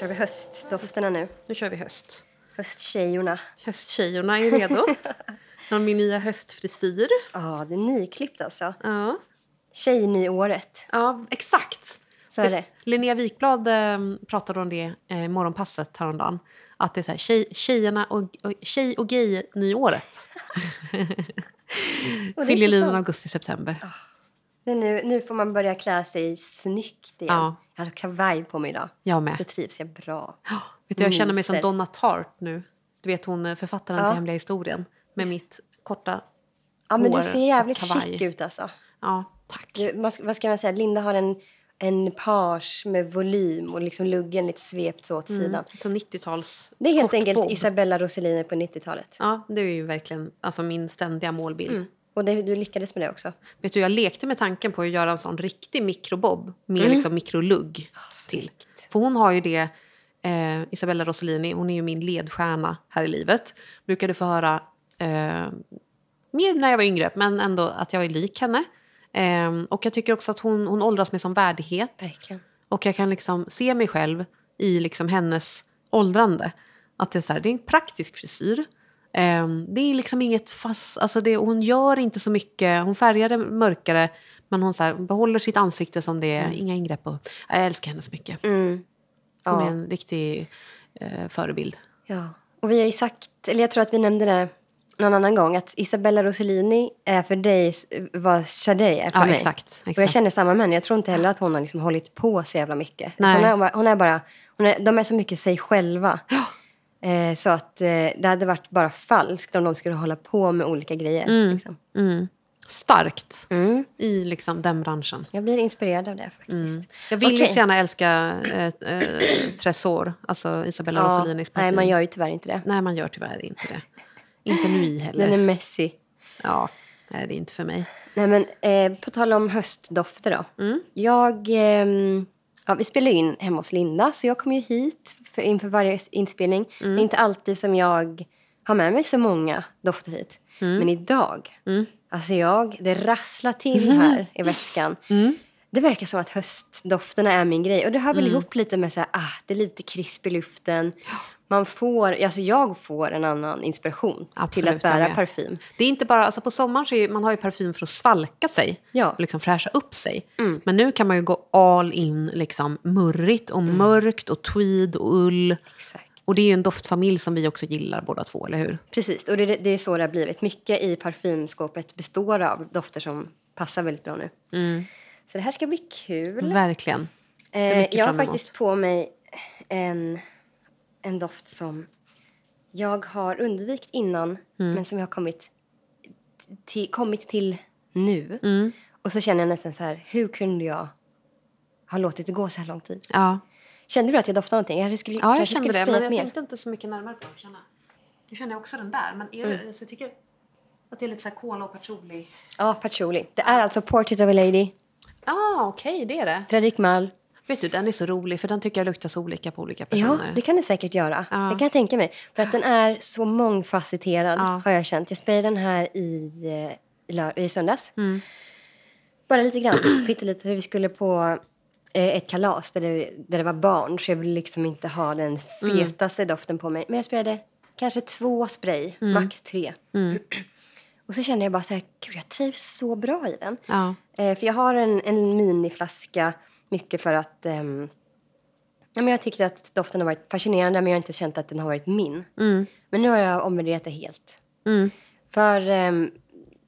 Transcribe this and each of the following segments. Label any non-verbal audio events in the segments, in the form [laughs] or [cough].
kör vi höstdofterna nu. Nu kör vi höst. Hösttjejorna. Hösttjejorna [laughs] är redo. De har min nya höstfrisyr. Ja, det är nyklippt alltså. Ja, Tjejnyåret, ja exakt. så är det. Linnea Wikblad eh, pratade om det eh, i Morgonpasset häromdagen. Att det är så här, tjej, tjejerna och, och, tjej och [laughs] gay-nyåret. så Skiljelinjen sant. Ah, augusti-september. Det är nu, nu får man börja klä sig snyggt igen. Ja. Jag har kavaj på mig idag. Jag Då med. trivs jag bra. Ja, Vet du, jag känner mig som Myser. Donna Tartt nu. Du vet hon eh, författaren Ja. till Hemliga historien. Med mitt korta... Ja, men Hår du ser jävligt och kavaj. chic ut alltså. Ja, tack. Du, vad ska- vad ska man säga? Linda har en, en page med volym och liksom luggen lite svept så åt sidan. Så 90-tals... Det är helt Mm. kort enkelt bob. Isabella Rossellini på 90-talet. Ja, det är ju verkligen alltså, min ständiga målbild. Och det, du lyckades med det också. Vet du, jag lekte med tanken på att göra en sån riktig mikrobob med liksom mikrolugg till. För hon har ju det, eh, Isabella Rossellini, hon är ju min ledstjärna här i livet. Brukade få höra, eh, mer när jag var yngre, men ändå att jag är lik henne. Eh, och jag tycker också att hon, hon åldras med sån värdighet. Verkligen. Och jag kan liksom se mig själv i liksom hennes åldrande. Att det är, så här, det är en praktisk frisyr. Ehm, det är liksom inget fast... Alltså det, hon gör inte så mycket. Hon färgar det mörkare, men hon så här, behåller sitt ansikte som det är. Inga ingrepp. Och, jag älskar henne så mycket. Mm. Hon Ja. är en riktig eh, förebild. Ja, och vi har ju sagt, eller jag tror att vi nämnde det någon annan gång, att Isabella Rossellini är för dig vad Sade är för Ja, mig. exakt. exakt. Och jag känner samma med henne. Jag tror inte heller att hon har liksom hållit på så jävla mycket. Nej. Utan Hon, är, hon är bara, hon är, de är så mycket sig själva. Eh, så att eh, det hade varit bara falskt om de skulle hålla på med olika grejer. Liksom. mm. Starkt Mm. i liksom, den branschen. Jag blir inspirerad av det faktiskt. Jag vill ju Okej. så gärna älska eh, eh, Tresor, alltså Isabella Rossellinis parfym. nej, man gör ju tyvärr inte det. Nej, man gör tyvärr inte det. Inte nu i heller. Den är messy. Ja, nej, det är inte för mig. Nej, men eh, på tal om höstdofter då. Mm. Jag, ehm, ja, vi spelar ju in hemma hos Linda, så jag kommer ju hit för, inför varje inspelning. Mm. Det är inte alltid som jag har med mig så många dofter hit. Mm. Men idag, alltså jag, det rasslar till [laughs] här i väskan. Mm. Det verkar som att höstdofterna är min grej. Och det hör väl ihop lite med så här, ah, det är lite krisp i luften. Man får, alltså jag får en annan inspiration till Absolut, att jag bära med. parfym. Det är inte bara, alltså på sommaren så är, ju- man har ju parfym för att svalka sig Ja. och liksom fräscha upp sig. Men nu kan man ju gå all in liksom murrigt och mörkt och tweed och ull. Exakt. Och det är ju en doftfamilj som vi också gillar båda två, eller hur? Precis, och det, det är så det har blivit. Mycket i parfymskåpet består av dofter som passar väldigt bra nu. Så det här ska bli kul. Verkligen. Mm. Ser Eh, mycket jag har fram emot. faktiskt på mig en, en doft som jag har undvikit innan Mm. men som jag har kommit till, kommit till nu. Mm. Och så känner jag nästan så här, hur kunde jag ha låtit det gå så här lång tid? Ja, Kände du att jag doftade någonting? Jag kanske skulle, ja jag kanske kände skulle det. Men sprayat jag mer. tänkte inte så mycket närmare på det. känner jag. Nu känner jag också den där, men är det, alltså, jag tycker att det är lite så här kola och patchouli. Ja, patchouli. Det är alltså Portrait of a Lady, Ja, ah, okej, det är det. Fredrik Malm. Vet du, den är så rolig för den tycker jag luktar så olika på olika Ja, personer. det kan det säkert göra. Ja. Det kan jag tänka mig. För att den är så mångfacetterad Ja. har jag känt. Jag spejade den här i, eh, i, lör- i söndags. Mm, Bara lite [clears throat] grann, pyttelite. För vi skulle på eh, ett kalas där det, där det var barn. Så jag ville liksom inte ha den Mm. fetaste doften på mig. Men jag spejade kanske två spray, Mm. max tre. [clears throat] Och så kände jag bara så här, gud jag trivs så bra i den. Ja. Eh, för jag har en, en miniflaska mycket för att ehm, ja, men jag tyckte att doften har varit fascinerande men jag har inte känt att den har varit min. Mm, Men nu har jag omvärderat det helt. För ehm,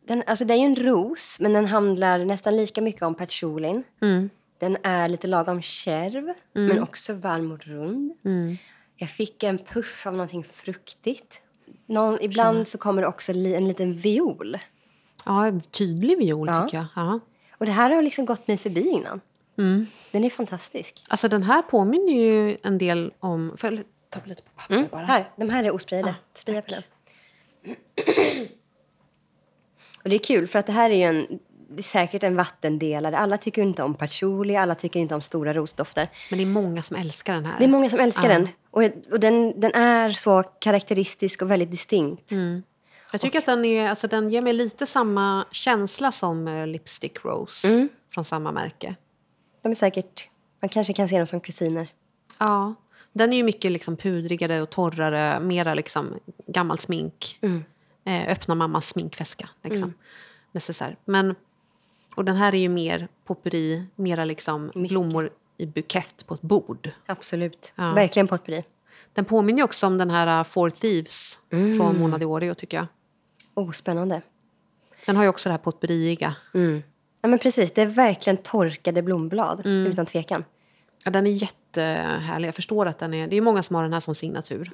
den, alltså det är ju en ros men den handlar nästan lika mycket om patchoulin. mm. Den är lite lagom kärv men också varm och rund. Jag fick en puff av någonting fruktigt. Någon, ibland så kommer det också li, en liten viol. ja, en tydlig viol Ja. tycker jag. Ja. Och det här har liksom gått mig förbi innan. Den är fantastisk. Alltså den här påminner ju en del om... Får jag ta lite på papper bara? Här, de här är osprayade. Spraya på den. [clears throat] Och det är kul för att det här är ju en, det är säkert en vattendelare. Alla tycker ju inte om patchouli, alla tycker inte om stora rosdofter. Men det är många som älskar den här. Det är många som älskar Ja. den. Och, och den, den är så karaktäristisk och väldigt distinkt. Mm. jag tycker att den, är, alltså, den ger mig lite samma känsla som eh, Lipstick Rose Mm. från samma märke. De är säkert, man kanske kan se dem som kusiner. Ja. Den är ju mycket liksom pudrigare och torrare, mera liksom gammalt smink. Mm. Eh, öppna mammas sminkväska. Liksom. Necessär. Men, och den här är ju mer potpurri, mera liksom Mycket. blommor i bukett på ett bord. Absolut. Ja. Verkligen potpurri. Den påminner ju också om den här uh, Four Thieves från Mona Diorio tycker jag. Oh, spännande. Den har ju också det här potpurriiga. Mm. Ja, men precis. Det är verkligen torkade blomblad, Mm. utan tvekan. Ja, den är jättehärlig. Jag förstår att den är... Det är ju många som har den här som signatur.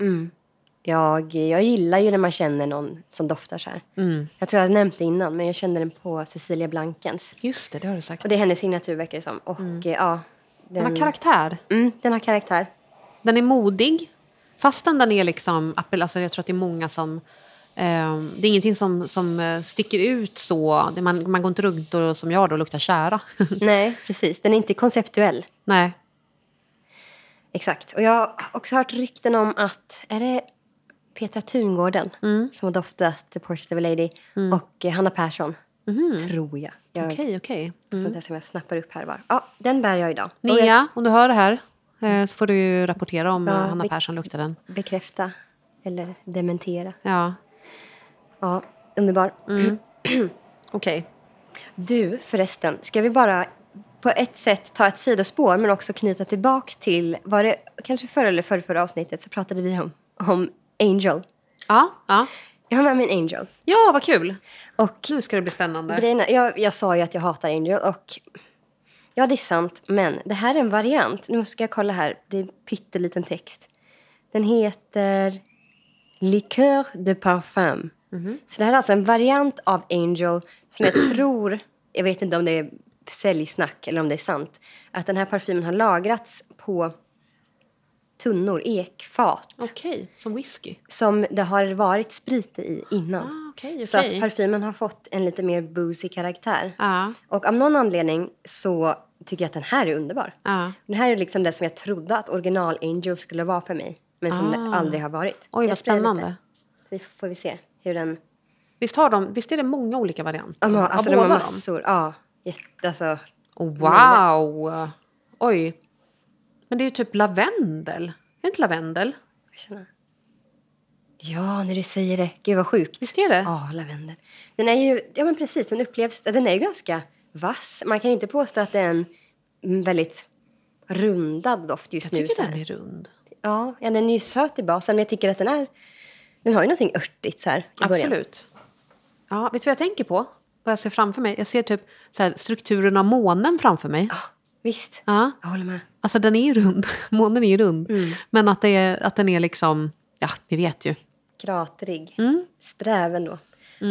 Jag, jag gillar ju när man känner någon som doftar så här. Mm. Jag tror jag har nämnt det innan, men jag kände den på Cecilia Blankens. Just det, det har du sagt. Och det är hennes signatur, verkar det som. Och eh, ja, Mm. den har karaktär. mm, den har [laughs] karaktär. Den är modig. Fastän den är liksom... appell- Alltså jag tror att det är många som... Eh, det är ingenting som, som eh, sticker ut så. Det- Man, man går inte runt och, som jag då och luktar tjära. Nej, precis. Den är inte konceptuell. [laughs] Nej. Exakt. Och jag har också hört rykten om att, är det Petra Tungården Mm. som har doftat The Portrait of a Lady och eh, Hanna Persson, tror jag. jag Mm. Okej, Mm. okej. Så det som jag snappar upp här bara. Ja, den bär jag idag. Och jag Nia, om du hör det här eh, så får du ju rapportera om Ja, eh, Hanna vi- Persson luktar den. bekräfta eller dementera. Ja, Ja, underbar. okej. Du, förresten, ska vi bara på ett sätt ta ett sidospår men också knyta tillbaka till, var det kanske förra eller förra, förra avsnittet så pratade vi om, om Angel. Ja, ja. Jag har med mig en Angel. ja, vad kul. Och Nu ska det bli spännande. grejen är- jag, jag sa ju att jag hatar Angel och ja, det är sant, men det här är en variant. Nu ska jag kolla här, det är pytteliten text. Den heter Liqueur de parfum. Mhm. Så det här är alltså en variant av Angel som jag [clears throat] tror, jag vet inte om det är säljsnack eller om det är sant, att den här parfymen har lagrats på tunnor, ekfat, Okej, som whisky. som det har varit sprit i innan. Ah, okej, Så okej. att parfymen har fått en lite mer boozy karaktär. Ja, Och av någon anledning så tycker jag att den här är underbar. ja. Den här är liksom det som jag trodde att original Angel skulle vara för mig. Men som det Ah. aldrig har varit. Oj, Jag vad sprayar spännande. lite. Vi får, får vi se hur den... Visst, har de, visst är det många olika varianter? De har, av alltså de båda har dem? massor. Ja, jätte, alltså, Oh, wow! Oj. Men det är ju typ lavendel. Är det inte lavendel? jag känner. Ja, när du säger det. Gud vad sjukt. Visst är det? Ja, lavendel. Den är ju, ja men precis, den upplevs, den är ju ganska vass. Man kan inte påstå att det är en väldigt rundad doft just jag nu. så tycker här. den är rund. Ja, ja, den är ju söt i basen, men jag tycker att den är... Den har ju någonting örtigt så här i början. Absolut. Ja, vet du vad jag tänker på? Vad jag ser framför mig? Jag ser typ så här, strukturen av månen framför mig. Ja, visst. Ja. Jag håller med. Alltså den är ju rund. [laughs] Månen är ju rund. Men att, det är, att den är liksom, ja ni vet ju. Kratrig. Mm. Sträven då.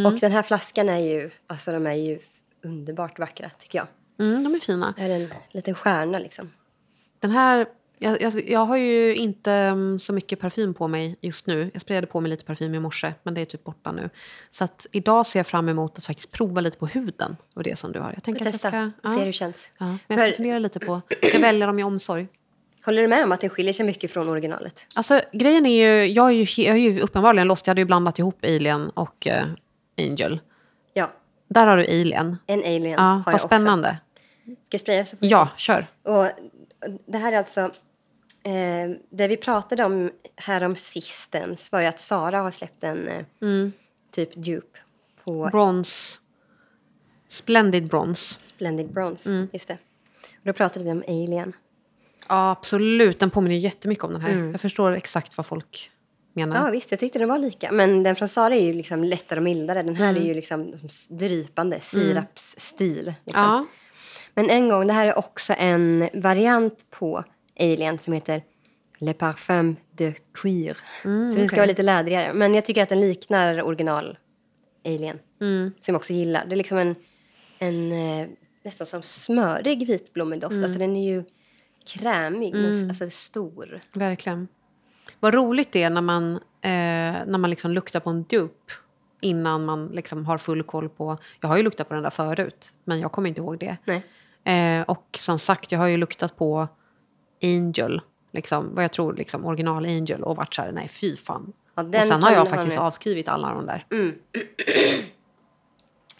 Och den här flaskan är ju... Alltså de är ju underbart vackra, tycker jag. Mm, de är fina. Det är en liten stjärna liksom. Den här, jag, jag, jag har ju inte mm, så mycket parfym på mig just nu. Jag sprayade på mig lite parfym i morse, men det är typ borta nu. Så att idag ser jag fram emot att faktiskt prova lite på huden och det som du har. Jag tänker att jag Testa, se ska... hur Ja, det känns. ja, men jag ska För- fundera lite på, ska jag välja dem i omsorg? Håller du med om att den skiljer sig mycket från originalet? Alltså grejen är ju, jag är ju, he- jag är ju uppenbarligen lost. Jag hade ju blandat ihop Alien och eh, Angel. Ja. Där har du Alien. En alien Ja, har vad jag också. spännande. Ska jag spraya så Ja, kör. Och det här är alltså... Eh, det vi pratade om här om sistens var ju att Sara har släppt en eh, typ dupe på Brons. Splendid brons. Splendid Bronze. Just det. Och då pratade vi om Alien. Ja, absolut. Den påminner ju jättemycket om den här. Jag förstår exakt vad folk menar. Mm. Ja, visst, jag tyckte den var lika. Men den från Sara är ju liksom lättare och mildare. Den här är ju liksom drypande, sirapsstil. Liksom. Ja. Men en gång, det här är också en variant på Alien som heter Le Parfum de Cuir. så den ska Mm, okej. vara lite lädrigare. Men jag tycker att den liknar original Alien. Mm, Som jag också gillar. Det är liksom en, en eh, nästan som smörig vitblommedoft. Mm. Alltså den är ju krämig, men alltså stor. verkligen. Vad roligt det är när man, eh, när man liksom luktar på en dupe innan man liksom har full koll på... Jag har ju luktat på den där förut, men jag kommer inte ihåg det. Nej. Eh, och som sagt, jag har ju luktat på Angel, liksom, vad jag tror liksom, original Angel och varit så här, nej fy fan. Ja, och den sen har kan jag ha faktiskt nu. avskrivit alla de där.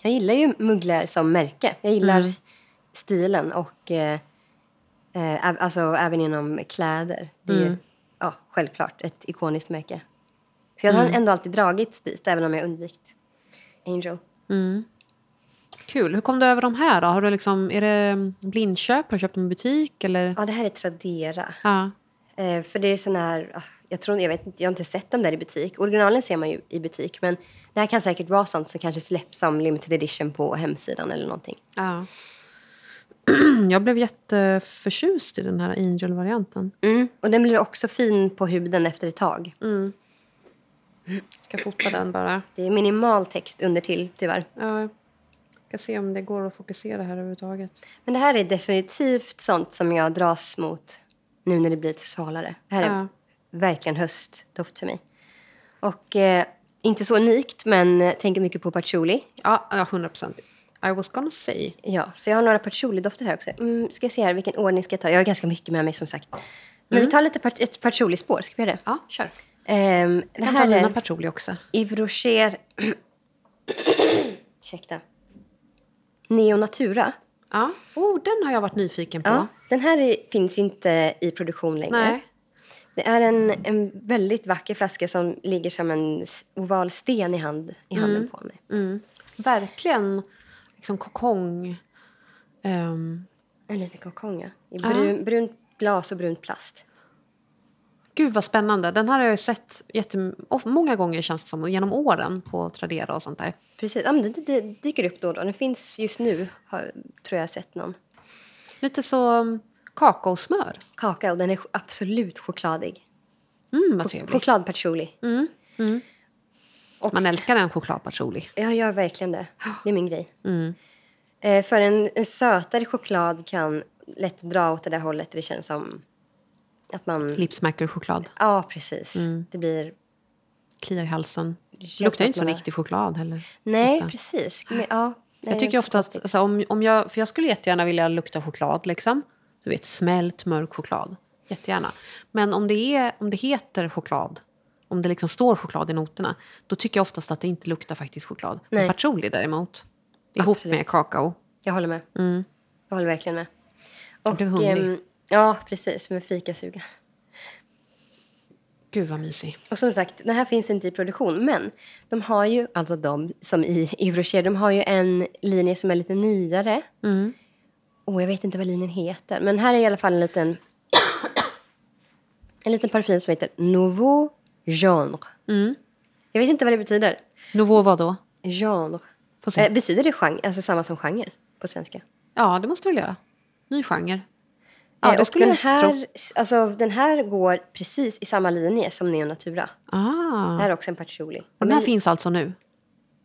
Jag gillar ju Mugler som märke. Jag gillar stilen och eh, eh, äv- alltså även inom kläder. Det är ju ja, självklart ett ikoniskt märke. Så jag har ändå alltid dragits dit, även om jag undvikit Angel. Mm. Kul. Hur kom du över de här då? Har du liksom, är det blindköp? Har du köpt dem i butik? Eller? Ja, det här är Tradera. Ja. Eh, för det är sån här... ah, Jag, tror, jag, vet, inte- jag har inte sett dem där i butik. Originalen ser man ju i butik. Men det här kan säkert vara sånt som kanske släpps som limited edition på hemsidan eller någonting. ja. [clears throat] Jag blev jätteförtjust i den här Angel-varianten. Mm. Och den blir också fin på huden efter ett tag. Mm. Ska fota den bara. Det är minimal text under till tyvärr. Ja. Ska se om det går att fokusera här överhuvudtaget. Men det här är definitivt sånt som jag dras mot nu när det blir lite svalare. Det här Ja. är verkligen höstdoft för mig. Och eh, inte så unikt, men eh, tänker mycket på patchouli. Ja, ja, 100 procent. I was gonna say. Ja, så jag har några patchouli-dofter här också. Mm, ska jag se här, vilken ordning ska jag ta? Jag har ganska mycket med mig som sagt. Men vi tar lite pat- ett patchouli-spår, ska vi göra det? Mm. Ja, kör. Ehm, det Jag kan ta här mina är Patchouli också. Yves Rocher... [clears throat] Ursäkta. Neonatura. Ja. Oh, den har jag varit nyfiken på. Ja, den här är, finns ju inte i produktion längre. Nej. Det är en, en väldigt vacker flaska som ligger som en s- oval sten i, hand, i handen Mm. på mig. Verkligen liksom kokong. Ehm, En liten kokonga. I Ja. brun, brunt glas och brunt plast. Gud vad spännande. Den här har jag ju sett jättem- of- många gånger känns det som, genom åren på Tradera och sånt där. Precis, ja, men det, det dyker upp då och då. Den finns just nu, har, tror jag har sett någon. Lite så um, kakaosmör. Kaka och den är ch- absolut chokladig. Mm, vad trevligt. Chokladpatchouli. Man älskar en chokladpatchouli. Jag gör verkligen det. Det är min grej. Mm. Eh, för en, en sötare choklad kan lätt dra åt det där hållet. Det känns som att man... Lipsmacker-choklad. Ja, precis. Det blir Kliar i halsen. Köp Mm. Luktar inte att som man är- riktig choklad heller. Nej, Ofta. precis. Men, ja, nej, Jag tycker ofta att, alltså, om, om jag, för jag skulle jättegärna vilja lukta choklad liksom. Du vet, smält mörk choklad. Jättegärna. Men om det, är, om det heter choklad, om det liksom står choklad i noterna, då tycker jag oftast att det inte luktar faktiskt choklad. Men Nej. patchouli däremot, ihop Absolut. med kakao. Jag håller med. Jag håller verkligen med. Och, blev Mm. hungrig. ehm, ja, precis. Med fikasuga. Gud vad mysig. Och som sagt, den här finns inte i produktion. Men de har ju, alltså de som i Eurocher, de har ju en linje som är lite nyare. Mm. Och jag vet inte vad linjen heter. Men här är i alla fall en liten... en liten parfym som heter Nouveau Genre. Mm. Jag vet inte vad det betyder. Nouveau vad då? Genre. Få se. Eh, betyder det genre? Alltså samma som genre på svenska? Ja, det måste du väl göra. Ny genre. Ja, Eh, det och skulle den jag tro. här, alltså, den här går precis i samma linje som Neonatura. Ah. Det här är också en patchouli. Den här Men- finns alltså nu?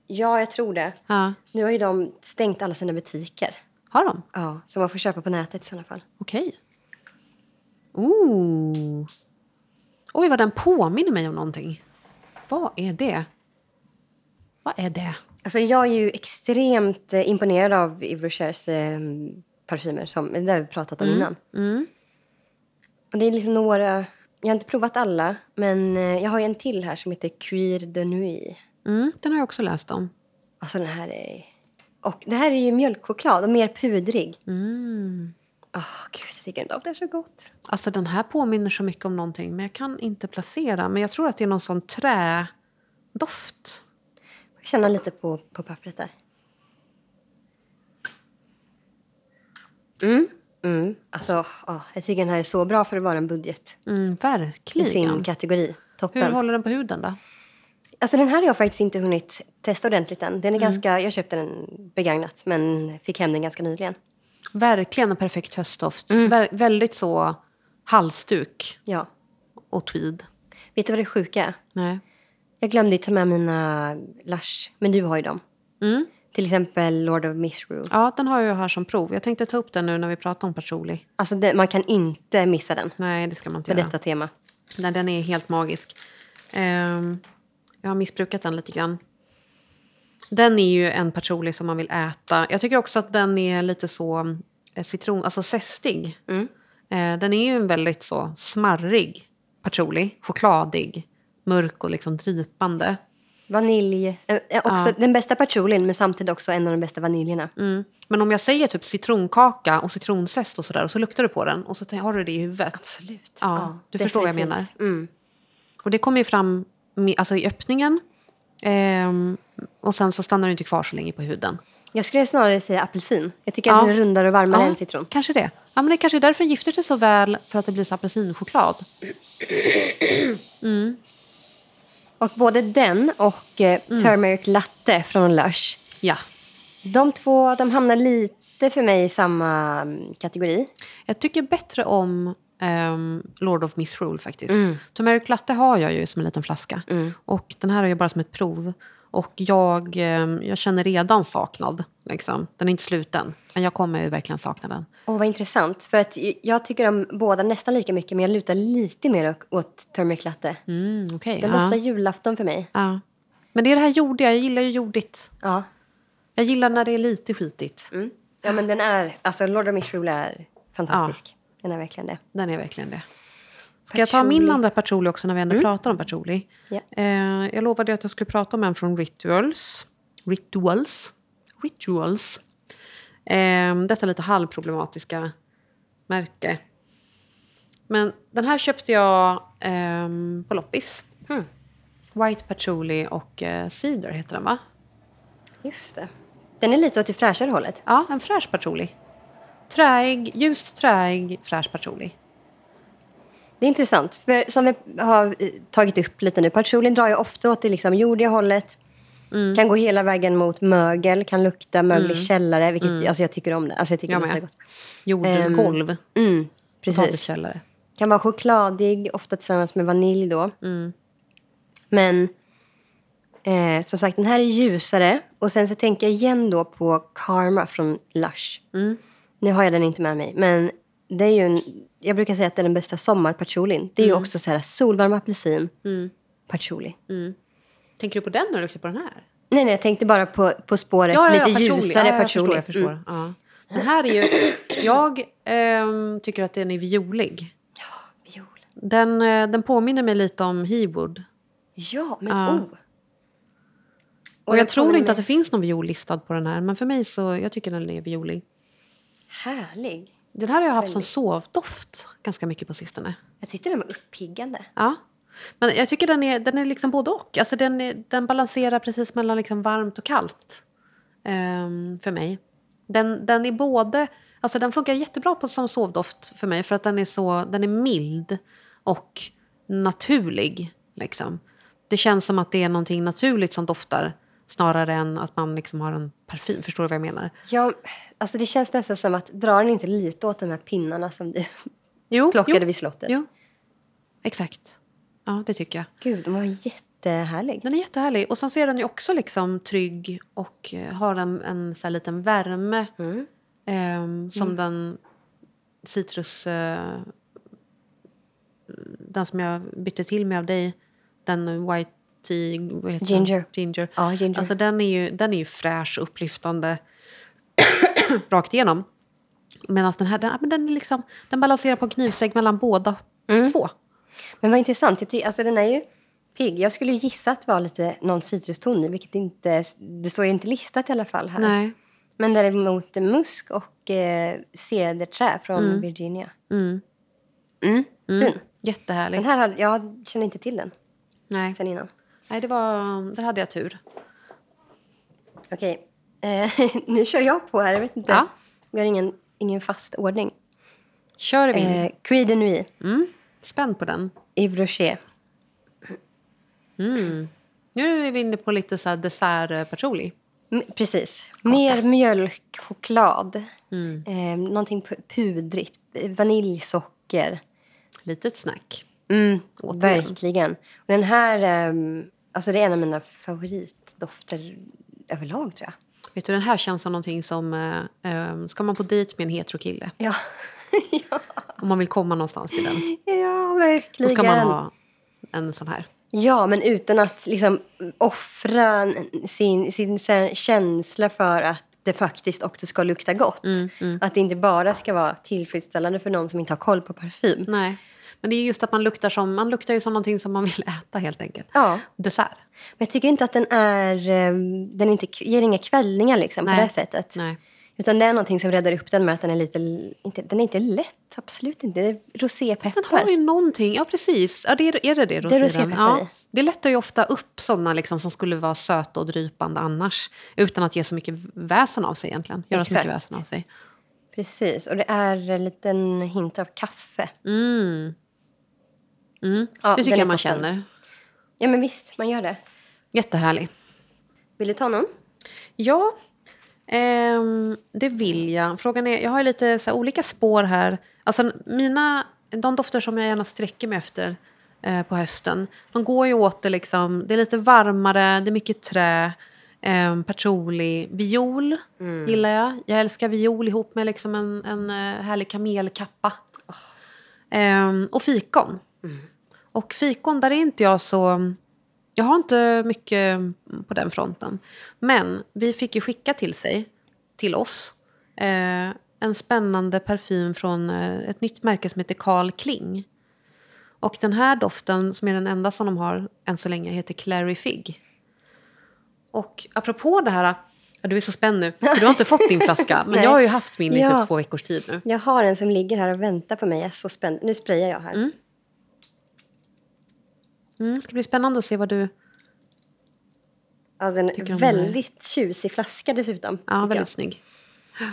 Ja, jag tror det. Ja. Nu har ju de stängt alla sina butiker. Har de? Ja, så man får köpa på nätet i sådana fall. Okej. Ooh. Oj, vad den påminner mig om någonting. Vad är det? Vad är det? Alltså, jag är ju extremt eh, imponerad av Yves Rochers eh, parfymer. Som, det har vi pratat om innan. Mm, Och det är liksom några... Jag har inte provat alla, men eh, jag har ju en till här som heter Cuir de Nuit. Mm, den har jag också läst om. Alltså den här är... Och det här är ju mjölkchoklad och mer pudrig. Åh, gud, jag tycker den doftar så gott. Mm. Alltså den här påminner så mycket om någonting, men jag kan inte placera. Men jag tror att det är någon sån trädoft. Jag känner lite på, på pappret där. Mm, mm. Alltså, ja, jag tycker den här är så bra för att vara en budget. Mm, I sin verkligen. kategori. Hur Toppen. håller den på huden då? Alltså den här har jag faktiskt inte hunnit testa ordentligt än. Den är ganska, jag köpte den begagnat men fick hem den ganska nyligen. Verkligen en perfekt höstdoft. Mm. Vä- väldigt så halsduk Ja. och tweed. Vet du vad det sjuka är? Nej. Jag glömde ju ta med mina lash, men du har ju dem. Mm. Till exempel Lord of Misrule. Ja, den har jag här som prov. Jag tänkte ta upp den nu när vi pratar om patchouli. Alltså det, man kan inte missa den Nej, det ska man inte för göra. detta tema. Nej, den är helt magisk. Ehm, jag har missbrukat den lite grann. Den är ju en patchouli som man vill äta. Jag tycker också att den är lite så eh, citron, alltså zestig. Eh, den är ju en väldigt så smarrig patchouli, chokladig, mörk och liksom dripande. Vanilj. Eh, eh, också Ja. Den bästa patchoulin men samtidigt också en av de bästa vaniljerna. Mm. Men om jag säger typ citronkaka och citronzest och sådär och så luktar du på den och så tän- har du det i huvudet. Absolut. Ja, du förstår vad jag menar. definitivt. Mm. Och det kommer ju fram med, alltså i öppningen ehm, och sen så stannar det inte kvar så länge på huden. Jag skulle snarare säga apelsin. Jag tycker Ja. att den är rundare och varmare Ja, än citron. Kanske det. Ja, men det kanske är därför den gifter sig så väl, för att det blir så apelsinchoklad. Och både den och eh, Mm. turmeric latte från Lush. Ja. De två de hamnar lite för mig i samma mm, kategori. Jag tycker bättre om ehm, Lord of Misrule faktiskt. Mm. Turmeric latte har jag ju som en liten flaska. Och den här har jag bara som ett prov. Och jag, ehm, jag känner redan saknad. Liksom. Den är inte sluten, men jag kommer ju verkligen sakna den. Och vad intressant. För att j- jag tycker om båda nästan lika mycket men jag lutar lite mer å- åt turmeric latte. Mm, okej. Den ja. doftar julafton för mig. ja. Men det är det här jordiga, jag gillar ju jordigt. Ja. Jag gillar när det är lite skitigt. Mm. Ja, men den är... Alltså, Lord of Misrule är fantastisk. Den är verkligen det. Den är verkligen det. Ska jag ta min Patchouli. Mm. andra patchouli också när vi ändå pratar om patchouli? Ja. Eh, jag lovade ju att jag skulle prata om en från Rituals. Rituals. Rituals. Eh, detta lite halvproblematiska märke. Men den här köpte jag ehm, på loppis. Mm. White patchouli och eh, cider heter den va? Just det. Den är lite åt det fräschare hållet. Ja, en fräsch patchouli. Träig, ljust träig, fräsch patchouli. Det är intressant. För som vi har eh, tagit upp lite nu, patchoulin drar ju ofta åt det liksom jordiga hållet. Mm. Kan gå hela vägen mot mögel, kan lukta mögel i källare. Vilket, alltså, jag tycker om det. Alltså, jag tycker Mm. Jag det luktar med. gott. Jordgolv, Mm, precis. potatiskällare. Kan vara chokladig, ofta tillsammans med vanilj då. Mm. Men eh, som sagt, den här är ljusare. Och sen så tänker jag igen då på Karma från Lush. Mm. Nu har jag den inte med mig, men det är ju en, jag brukar säga att det är den bästa sommarpatchoulin. Det är Mm. ju också så här solvarm apelsin, patchouli. Tänker du på den när du luktar på den här? Nej, nej, jag tänkte bara på På spåret, lite patchouli. ljusare ja, jag patchouli. Mm. Förstår, jag förstår. Ja. Den här är ju... Jag ehm, tycker att den är violig. Mm. Viol. Den, eh, den påminner mig lite om Hewood. Ja, men Ja. oh! Och, jag tror inte att det finns någon viol listad på den här, men för mig så jag tycker den är violig. Härlig! Den här har jag haft som sovdoft ganska mycket på sistone. Jag tyckte den var uppiggande. Ja. Men jag tycker den är, den är liksom både och. Alltså den, är, den balanserar precis mellan liksom varmt och kallt ehm, för mig. Den, den är både... Alltså den funkar jättebra på, som sovdoft för mig för att den är, så, den är mild och naturlig. Liksom. Det känns som att det är någonting naturligt som doftar snarare än att man liksom har en parfym. Förstår du vad jag menar? Ja, alltså det känns nästan som att drar den inte lite åt de här pinnarna som du Jo, plockade jo, vid slottet? jo. Exakt. Ja, det tycker jag. Gud, den var jättehärlig. Den är jättehärlig. Och sen så är den ju också liksom trygg och eh, har en, en så här liten värme Mm. ehm, som den citrus... Eh, den som jag bytte till mig av dig, den white tea... vad heter den? Ginger. Ginger. Ja, ginger. Alltså den är ju, den är ju fräsch, upplyftande [coughs] rakt igenom. Medan den här, den, ja, men den, är liksom, den balanserar på en knivsegg mellan båda Mm. två. Men vad intressant. Jag ty- alltså, den är ju pigg. Jag skulle ju gissa att det var lite någon citruston i, vilket inte, det står ju inte listat i alla fall här. Nej. Men däremot musk och eh, cederträ från Virginia. Mm. Mm. Fin. Jättehärlig. Den här hade, jag känner inte till den Nej. sen innan. Nej, det var, där hade jag tur. Okej, eh, [laughs] nu kör jag på här. Jag vet inte. Ja. Vi har ingen, ingen fast ordning. Kör vi. Eh, Creed de Nuit, Mm. Spänn på den. Yves Rocher. Nu är vi inne på lite så här dessertpatchouli. M- precis. Mer mjölk, choklad. Mm. Eh, någonting pu- pudrigt. Vaniljsocker. Litet snack. Mm, Återigen. verkligen. Och den här... ehm, alltså det är en av mina favoritdofter överlag, tror jag. Vet du, den här känns som någonting som... Eh, eh, ska man på dejt med en hetero kille? Ja, Om man vill komma någonstans med den. [laughs] ja Då verkligen. ska man ha en sån här. Ja, men utan att liksom offra en- sin, sin kä- känsla för att det faktiskt också ska Mm, Mm. lukta gott. Att det inte bara ska vara tillfredsställande för någon som inte har koll på parfym. Nej. Men det är just att man luktar som, man luktar ju som någonting som man [laughs] vill äta helt enkelt. Ja. Dessert. Men jag tycker inte att den är... eh, Den är inte, ger inga kvällningar liksom, på Nej. det sättet. Nej. Utan det är någonting som räddar upp den med att den är lite... Inte, den är inte lätt, absolut inte. Det är Den har rosépeppar. ju någonting, ja precis. Ja, det är, är det det? Det är rotviran? rosépeppar ja. i. Det lättar ju ofta upp sådana liksom, som skulle vara söta och drypande annars. Utan att ge så mycket väsen av sig egentligen. Göra så mycket Exakt. väsen av sig. Precis, och det är en liten hint av kaffe. Mm. Mm. Ja, det tycker den jag är toppen. man känner. Ja, men visst, man gör det. Jättehärlig. Vill du ta någon? Ja, ehm, det vill jag. Frågan är, jag har ju lite så här, olika spår här. Alltså mina, de dofter som jag gärna sträcker mig efter eh, på hösten, de går ju åt det liksom, det är lite varmare, det är mycket trä, eh, patchouli, viol gillar jag. Jag älskar viol ihop med liksom en, en eh, härlig kamelkappa. Ehm, och fikon. Och fikon, där är inte jag så... Jag har inte mycket på den fronten. Men vi fick ju skicka till sig, till oss, eh, en spännande parfym från eh, ett nytt märke som heter Carl Kling. Och den här doften, som är den enda som de har än så länge, heter Clary Fig. Och apropå det här... Ja, du är så spänd nu, för du har inte fått din [laughs] flaska. Men Nej. jag har ju haft min i Ja. typ två veckors tid nu. Jag har en som ligger här och väntar på mig. Jag är så spänd. Nu sprayar jag här. Mm, det ska bli spännande att se vad du... Ja, den Tycker är om den här. väldigt tjusig flaska dessutom. tycker Ja, jag. väldigt snygg.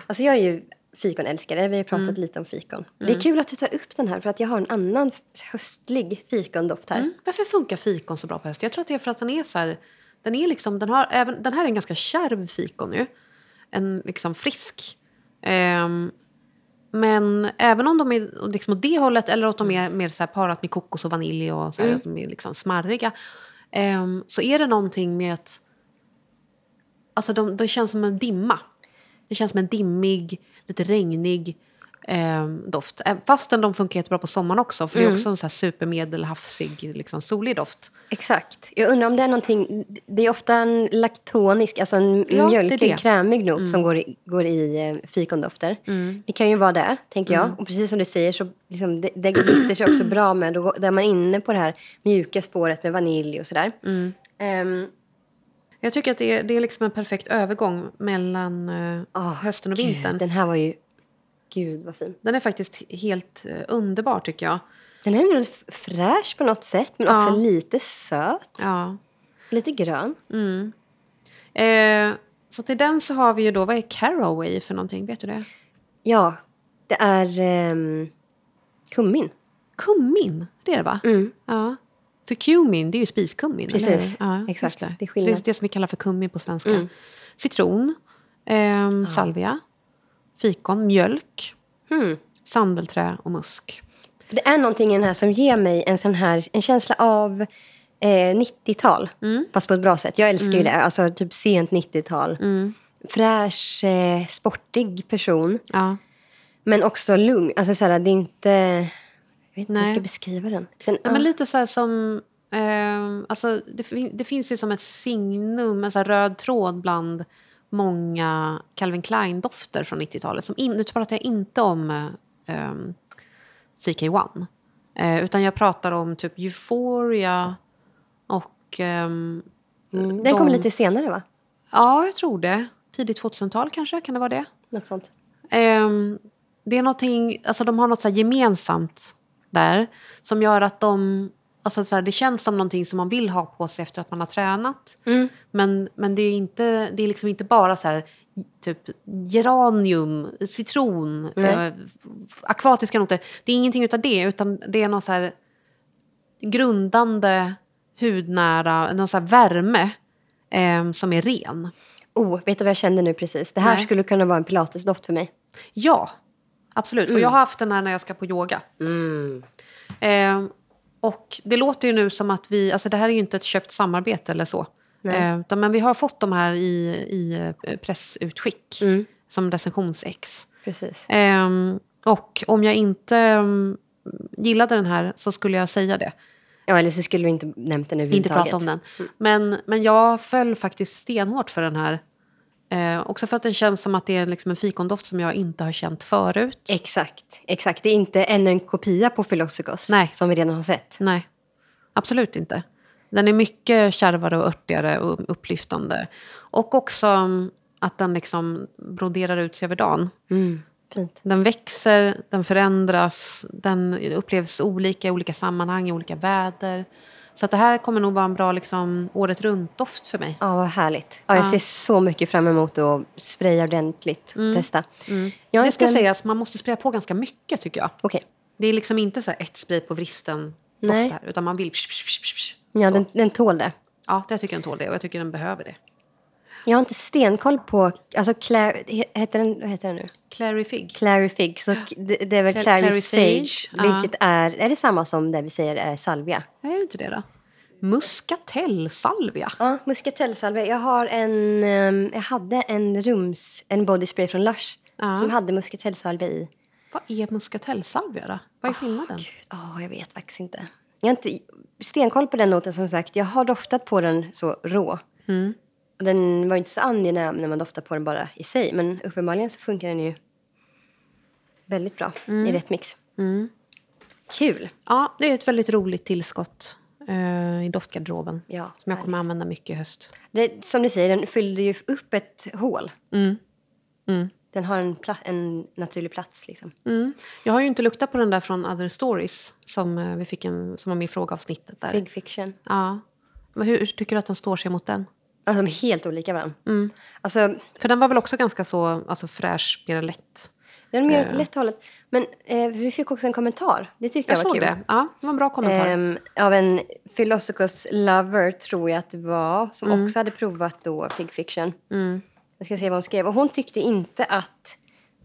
Alltså jag är ju fikonälskare. Vi har pratat Mm. lite om fikon. Det är kul att du tar upp den här för att jag har en annan höstlig fikondoft här. Mm. Varför funkar fikon så bra på hösten? Jag tror att det är för att den är så här... Den, är liksom, den, har, även, den här är en ganska kärv fikon nu. En liksom frisk. Ehm, men även om de är liksom åt det hållet eller att de är mer så här parat med kokos och vanilj och så Mm. här, att de är liksom smarriga. ehm, så är det någonting med att... Alltså de, de känns som en dimma. Det känns som en dimmig, lite regnig eh, doft. Eh, Fastän de funkar jättebra på sommaren också, för det är också en så här supermedelhavsig, liksom, solig doft. Exakt. Jag undrar om det är någonting... Det är ofta en laktonisk, alltså en Ja, det Mm. är det. mjölkig, krämig not som går i, går i eh, fikondofter. Mm. Det kan ju vara det, tänker jag. Och precis som du säger så liksom, det, det gifter sig också bra med... Då går- där man är inne på det här mjuka spåret med vanilj och sådär. Mm. Ehm, Jag tycker att det är, det är liksom en perfekt övergång mellan eh, ah, hösten och gud, vintern. Den här var ju... Gud, vad fin. Den är faktiskt helt eh, underbar, tycker jag. Den är ändå f- fräsch på något sätt, men också Ja. lite söt. Ja. Lite grön. Mm. Eh, så till den så har vi ju då, vad är caraway för någonting? Vet du det? Ja, det är ehm, kummin. Kummin, det är det va? Mm. Ja. För kumin, det är ju spiskummin. eller Precis, hur? Ja, exakt. just Det. Det det är skillnad. är det som vi kallar för kummin på svenska. Mm. Citron, ehm, salvia, fikon, mjölk, Hmm. sandelträ och musk. För det är någonting i den här som ger mig en sån här en känsla av eh, 90-tal. Mm. Fast på ett bra sätt. Jag älskar ju det. Alltså typ sent 90-tal. Fräsch, eh, sportig person. Ja. Men också lugn. Alltså så här, det är inte... Jag vet inte hur Nej. jag ska beskriva den. den Ja, Men lite så här som... ehm, alltså det, fin- det finns ju som ett signum, en så här röd tråd bland många Calvin Klein-dofter från 90-talet. Som in, nu pratar jag inte om eh, ehm, CK1. eh, utan jag pratar om typ Euphoria och... ehm, mm, den kom de- lite senare va? Ja, jag tror det. Tidigt 2000-tal kanske, kan det vara det? Något sånt. Ehm, det är någonting, alltså de har något så här gemensamt där som gör att de, alltså så här, det känns som någonting som man vill ha på sig efter att man har tränat. Mm. Men, men det är, inte, det är liksom inte bara så här, typ geranium, citron, Nej. eh, akvatiska noter. Det är ingenting utav det, utan det är någon så här grundande, hudnära, någon så här värme ehm, som är ren. Oh, vet du vad jag kände nu precis? Det här Nej. skulle kunna vara en pilatesdoft för mig. Ja, absolut. Och jag har haft den här när jag ska på yoga. Mm. Eh, och det låter ju nu som att vi, alltså det här är ju inte ett köpt samarbete eller så. Eh, utan- men vi har fått de här i, i eh, pressutskick Mm. som recensionsex. Precis. Eh, och om jag inte mm, gillade den här så skulle jag säga det. Ja, eller så skulle vi inte nämnt den Inte överhuvudtaget. prata om den. Men, men jag föll faktiskt stenhårt för den här Eh, också för att den känns som att det är liksom en fikondoft som jag inte har känt förut. Exakt, exakt. Det är inte ännu en kopia på Philosophos Nej. som vi redan har sett. Nej, absolut inte. Den är mycket kärvare och örtigare och upplyftande. Och också mm, att den liksom broderar ut sig över dagen. Mm, Fint. Den växer, den förändras, den upplevs olika i olika sammanhang, i olika väder. Så att det här kommer nog vara en bra liksom, året runt-doft för mig. Ja, vad härligt. Ja, jag Ja. ser så mycket fram emot att spraya ordentligt. Testa. Jag har Mm. Det ska inte- sägas, man måste spraya på ganska mycket tycker jag. Okej. Det är liksom inte så här ett spray på vristen Nej. doft här, utan man vill... Psh, psh, psh, psh, psh. Ja, den, den tål det. Ja, jag tycker den tål det och jag tycker den behöver det. Jag har inte stenkoll på... Alltså, Claire, he- heter den, vad heter den nu? Clary Fig. Clary Fig. Så k- det, det är väl Clary- Clary, Clary Sage. Sage, ja. Vilket är... Är det samma som det vi säger är salvia? Är det inte det då? Muskatellsalvia. Ja, muskatellsalvia. Jag har en... ehm, Jag hade en rums... En bodyspray från Lush. Ja. Som hade muskatellsalvia i. Vad är muskatellsalvia då? Ah, Vad är skillnaden? Gud, åh, jag vet faktiskt inte. Jag har inte stenkoll på den noten som sagt. Jag har doftat på den så rå. Mm. Och den var ju inte så angenäm när man doftar på den bara i sig. Men uppenbarligen så funkar den ju väldigt bra i Mm. rätt mix. Kul! ja, det är ett väldigt roligt tillskott eh, i doftgarderoben. Ja, Som jag kommer använda mycket i höst. det, som du säger, den fyllde ju upp ett hål. Mm. Den har en, pla- en naturlig plats liksom. Mm. Jag har ju inte luktat på den där från Other Stories som, eh, vi fick en, som var min fråga avsnittet där. Fig fiction. Ja. Men hur, hur tycker du att den står sig mot den? Alltså de är helt olika varandra. Mm. Alltså, För den var väl också ganska så alltså, fräsch, mera lätt. den är mer åt det lätta hållet. Men eh, vi fick också en kommentar. Det tyckte jag, Jag var såg kul. det. Ja, det var en bra kommentar. Ehm, av en Philosophos lover, tror jag att det var, som Mm. också hade provat då Fig Fiction. Jag ska se vad hon skrev. Och hon tyckte inte att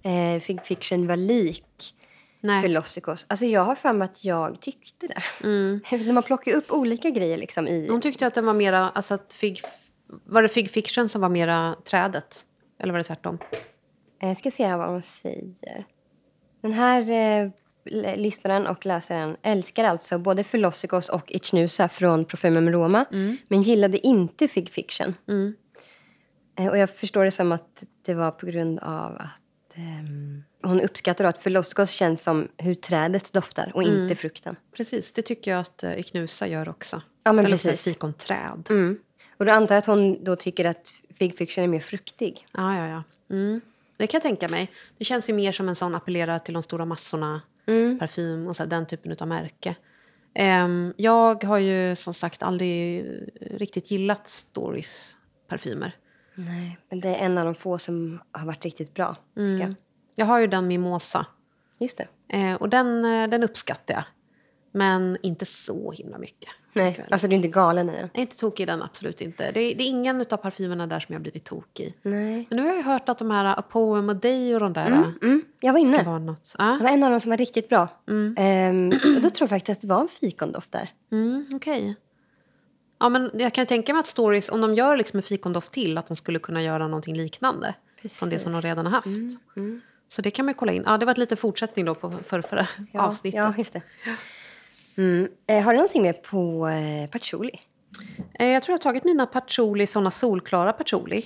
eh, Fig Fiction var lik Nej. Philosophos. Alltså jag har för mig att jag tyckte det. [laughs] När man plockar upp olika grejer liksom i... Mm. Hon tyckte att den var mera... Alltså att fig, var det Fig Fiction som var mera trädet? Eller var det tvärtom? Eh, ska se vad hon säger. Den här eh, l- lyssnaren och läsaren älskar alltså både Philosophos och Ichnusa från Parfymum Roma men gillade inte Fig Fiction. Eh, och jag förstår det som att det var på grund av att ehm, hon uppskattar då att Philosophos känns som hur trädet doftar och inte frukten. Precis, det tycker jag att eh, Iknusa gör också. Ja, men den luktar precis. Fikonträd. Mm. Och då antar jag att hon då tycker att Fig Fiction är mer fruktig. Ja, ja, ja. Mm. Det kan jag tänka mig. Det känns ju mer som en sån appellerar till de stora massorna. Mm. Parfym och så här, den typen av märke. Ehm, jag har ju som sagt aldrig riktigt gillat Stories parfymer. Nej, men det är en av de få som har varit riktigt bra. tycker Jag. Jag har ju den Mimosa. Just det. Eh, och den, eh, den uppskattar jag. Men inte så himla mycket. Nej, alltså du är inte galen i den. Jag är inte tokig i den, absolut inte. Det är, det är ingen av parfymerna där som jag blivit tokig i. Nej. Men nu har jag hört att de här A Poem a Day och de där eh, Mm, jag var ska inne. vara något. mm, Ah. Det var en av dem som var riktigt bra. Ehm, och då tror jag faktiskt att det var en fikondoft där. Mm, Okej. Ja, men jag kan ju tänka mig att stories, om de gör liksom en fikondoft till, att de skulle kunna göra någonting liknande. Från det som de Precis. Mm. redan har haft. Så det kan man ju kolla in. Ja, det var lite fortsättning då på förra, förra Ja, avsnittet. Ja, just det. Mm. Eh, har du någonting mer på eh, patchouli? Eh, Jag tror jag har tagit mina patchouli, såna solklara patchouli.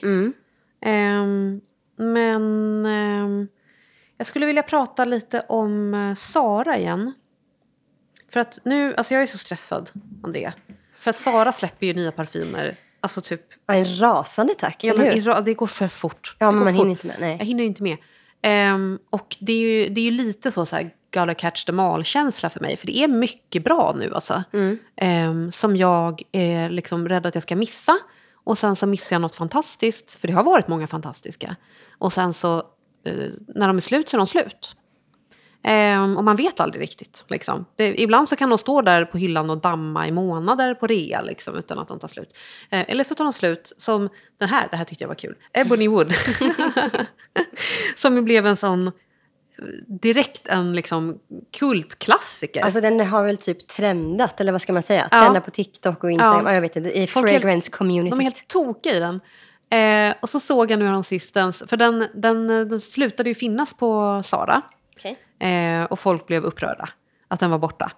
Ehm, men ehm, jag skulle vilja prata lite om eh, Sara igen. För att nu, alltså jag är så stressad om det. För att Sara släpper ju nya parfymer. Alltså typ, Ja, en rasande takt, ja, eller men, hur? i ra- det går för fort. ja, Det men går man fort. hinner inte med. Nej. Jag hinner inte med. Ehm, och det är, ju, det är ju lite så, så här, gotta catch them all-känsla för mig. För det är mycket bra nu alltså. Mm. Ehm, som jag är liksom rädd att jag ska missa. Och sen så missar jag något fantastiskt. För det har varit många fantastiska. Och sen så, eh, när de är slut så är de slut. Ehm, och man vet aldrig riktigt. Liksom. Det, ibland så kan de stå där på hyllan och damma i månader på rea liksom, utan att de tar slut. Eh, eller så tar de slut som den här, det här tyckte jag var kul, Ebony Wood. som ju blev en sån, eh, direkt en liksom, kultklassiker. Alltså den har väl typ trendat, eller vad ska man säga? Ja. Trendat på TikTok och Instagram, Ja. ja. jag vet inte, i Folk är- fragrance community. De är helt tokiga i den. Eh, och så såg jag nu häromsistens, för den, den, den slutade ju finnas på Sara. Okej. Eh, och folk blev upprörda att den var borta.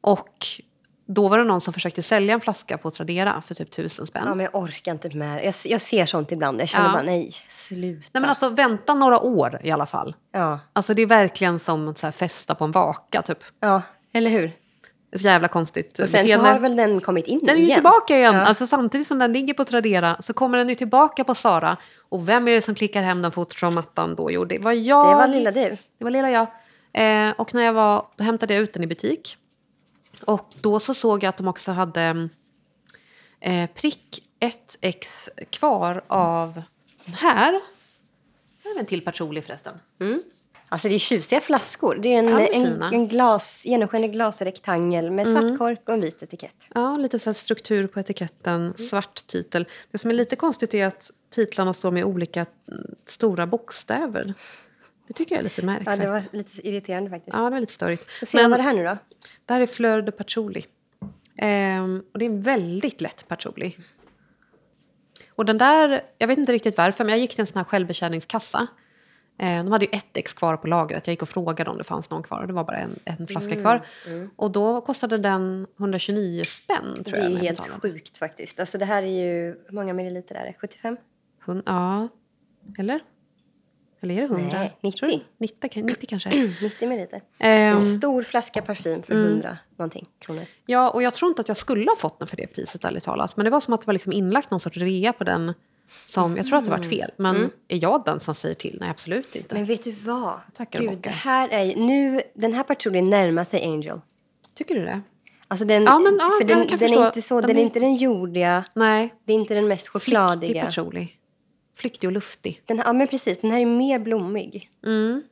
Och Då var det någon som försökte sälja en flaska på Tradera för typ tusen spänn. Ja, men jag orkar inte med det. Jag, jag ser sånt ibland. Jag känner Ja. bara, nej, sluta. Nej men alltså vänta några år i alla fall. ja. Alltså det är verkligen som att så här, festa på en vaka typ. ja, eller hur? Så jävla konstigt Och sen så har väl den kommit in Den är ju igen. tillbaka igen. Ja. Alltså samtidigt som den ligger på Tradera så kommer den ju tillbaka på Sara. Och vem är det som klickar hem den fort från mattan då? Jo, det var jag. Det var lilla du. Det var lilla jag. Eh, och när jag var, då hämtade jag ut den i butik. Och då så såg jag att de också hade eh, prick 1x kvar av den här. Här är en till Patchouli förresten. Alltså det är tjusiga flaskor. Det är en, Ja, de är en, fina. Mm. en glas, genomskinlig glasrektangel med svart kork och en vit etikett. Ja, lite så här struktur på etiketten, svart titel. Det som är lite konstigt är att titlarna står med olika mm, stora bokstäver. Det tycker jag är lite märkligt. Ja, det var lite irriterande faktiskt. ja, det var lite störigt. Får se, Men vad var det här? det här nu då? är Fleur de Patchouli. Ehm, och det är en väldigt lätt patchouli. Och den där, jag vet inte riktigt varför, men jag gick till en sån här självbetjäningskassa. Ehm, de hade ju ett ex kvar på lagret. Jag gick och frågade om det fanns någon kvar och det var bara en, en flaska Mm, kvar. Och då kostade den 129 spänn tror Det jag. är ju när jag helt betalade. sjukt faktiskt. Alltså det här är ju, hur många milliliter är det? 75? Hund, ja. Eller? Eller är det 100? Nej, Tror du? 90. 90, kan- 90 kanske. [clears throat] 90 milliliter. Ehm, En stor flaska parfym för Mm. 100 någonting kronor. ja, och jag tror inte att jag skulle ha fått den för det priset, ärligt talat. Men det var som att det var liksom inlagt någon sorts rea på den. Som, jag tror att det varit fel, men är jag den som säger till? Nej, absolut inte. Men vet du vad? Tackar och Gud, bockar. det här är ju, nu, den här patrullen närmar sig Angel. Tycker du det? Alltså den, Ja, men, ja, för den, jag kan den förstå. är inte så, Den den, är är- inte den jordiga, Nej. det är inte den mest Flyktig chokladiga. patchouli. Flyktig och luftig. Den, här- ja men precis, den här är mer blommig. Mm.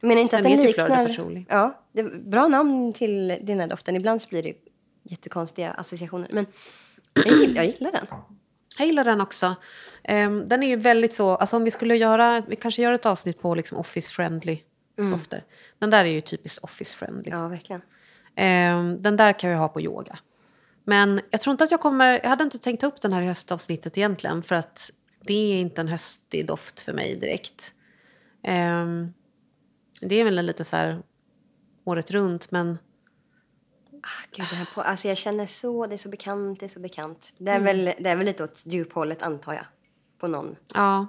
Jag menar inte Den att den heter Fleur de liknar... Patchouli. Ja, det, bra namn till den här doften. Ibland så blir det jättekonstiga associationer. Men jag gillar, jag gillar den. Jag gillar den också. Ehm, den är ju väldigt så... Alltså om vi skulle göra... Vi kanske gör ett avsnitt på liksom office-friendly dofter. Den där är ju typiskt office-friendly. Ja, verkligen. Ehm, den där kan jag ha på yoga. Men jag tror inte att jag kommer... Jag hade inte tänkt ta upp den här i höstavsnittet egentligen för att det är inte en höstig doft för mig direkt. Ehm, det är väl en lite så här året runt, men Ah, Gud, det här på, alltså jag känner så, det är så bekant, det är så bekant. Det Mm. är, väl, det är väl lite åt djuphållet antar jag. På någon ja,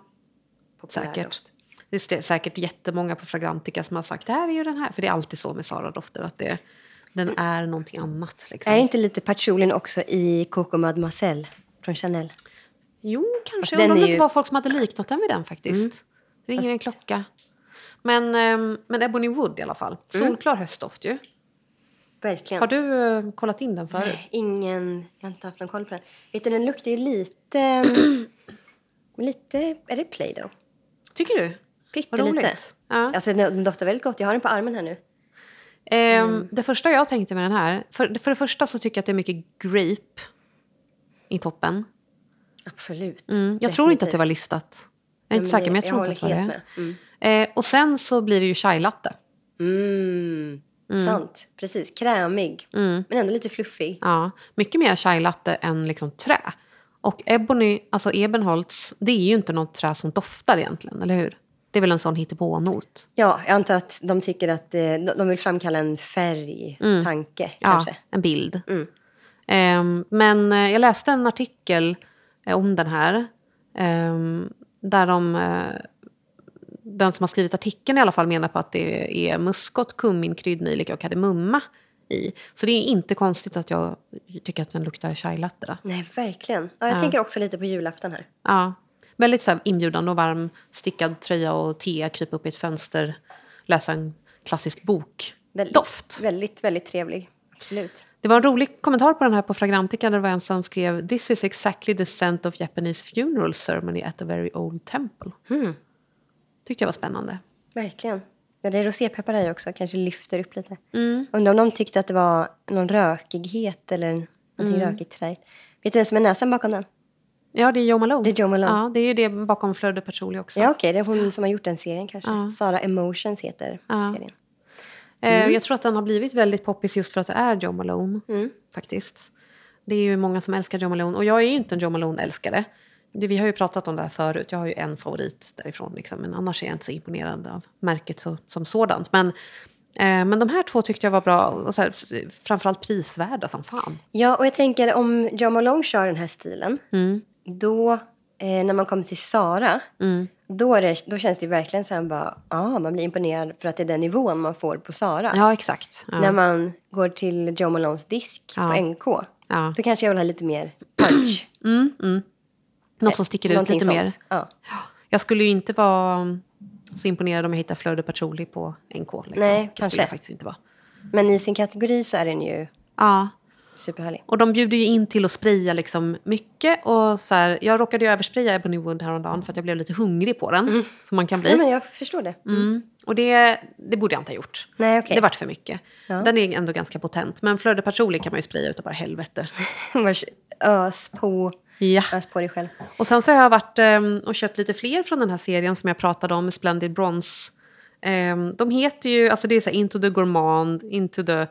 populär säkert. doft. Det är st- säkert jättemånga på Fragrantica som har sagt det här är ju den här. För det är alltid så med Sara-dofter, att det, den är någonting annat. Liksom. Är inte lite patchoulin också i Coco Mademoiselle från Chanel? Jo, kanske. den Jag undrar om är det inte ju- var folk som hade liknat den vid den faktiskt. Ringer en klocka. Men, ehm, men Ebony Wood i alla fall. Solklar höstdoft ju. Verkligen. Har du eh, kollat in den förut? Nej, Ingen, jag har inte haft någon koll på den. Vet du, den luktar ju lite... [clears throat] lite, är det Play-Doh? Tycker du? Vad Pyttelite. roligt. Ja. Alltså den den doftar väldigt gott. Jag har den på armen här nu. Ehm, Det första jag tänkte med den här, för, för det första så tycker jag att det är mycket grape i toppen. Absolut. Mm. Jag tror inte att det var listat. Jag är inte säker, men jag tror inte att det var det. Mm. Eh, och sen så blir det ju chai latte. Mm. Sant. Precis. Krämig. Mm. Men ändå lite fluffig. Ja, mycket mer chai latte än liksom trä. Och ebony, alltså ebenholts, det är ju inte något trä som doftar egentligen, eller hur? Det är väl en sån hittepånot? Ja, jag antar att de tycker att eh, de de vill framkalla en färgtanke Mm. Ja, kanske. en bild. Mm. Ehm, men eh, jag läste en artikel eh, om den här. ehm, där de, eh, den som har skrivit artikeln i alla fall menar på att det är muskot, kummin, kryddnejlika och kardemumma i. Så det är inte konstigt att jag tycker att den luktar chai latte. Då. Nej, verkligen. Ja, jag tänker också lite på julafton här. Ja. Väldigt så här inbjudande och varm, stickad tröja och te, krypa upp i ett fönster, läsa en klassisk bok. Väldigt, Doft. Väldigt, väldigt trevlig. Absolut. Det var en rolig kommentar på den här på Fragrantica där det var en som skrev “This is exactly the scent of Japanese funeral ceremony at a very old temple”. Mm. Tyckte jag var spännande. Verkligen. Ja, det är rosépeppar här också. Kanske lyfter upp lite. Undrar om de tyckte att det var någon rökighet eller Mm. någonting rökigt träigt. Vet du vem som är näsan bakom den? Ja, det är Jo Malone. Det är Jo Malone. Ja, det är ju det bakom Fleur de Patchouli också. Ja, okej. Det är hon som har gjort den serien kanske. Sara Emotions heter serien. Mm. Eh, Jag tror att den har blivit väldigt poppis just för att det är Jo Malone. Faktiskt. Det är ju många som älskar Jo Malone. Och jag är ju inte en Jo Malone-älskare. Det, vi har ju pratat om det här förut. Jag har ju en favorit därifrån. Liksom. Men annars är jag inte så imponerad av märket så, som sådant. Men Eh, men de här två tyckte jag var bra, och så här, f- framförallt prisvärda som fan. Ja, och jag tänker om John Malone kör den här stilen, Mm. då eh, när man kommer till Sara, Mm. då, är det, då känns det ju verkligen så här bara, ah, man blir imponerad för att det är den nivån man får på Sara. Ja, exakt. Ja. När man går till John Malones disk Ja. på NK, Ja. då kanske jag vill ha lite mer punch. Något som [clears throat] sticker ut Någonting lite mer. sånt. Ja. Jag skulle ju inte vara så imponerad om jag hittar Fleur de Patchouli på NK. Liksom. Nej, det kanske. skulle jag faktiskt inte vara. Men i sin kategori så är den ju Ja, superhärlig. och de bjuder ju in till att spraya liksom mycket. Och så här, jag råkade ju överspraya Ebony Wood häromdagen för att jag blev lite hungrig på den. Som man kan bli. Nej, men jag förstår det. Mm. Och det, det borde jag inte ha gjort. Nej, okej. Det vart för mycket. Den är ändå ganska potent. Men Fleur de Patchouli kan man ju spraya utav bara helvete. [laughs] Vars Ös på, Ja. ös på dig själv. Och sen så har jag varit ehm, och köpt lite fler från den här serien som jag pratade om, Splendid Bronze. Ehm, de heter ju, alltså det är så här Into the Gourmand, Into the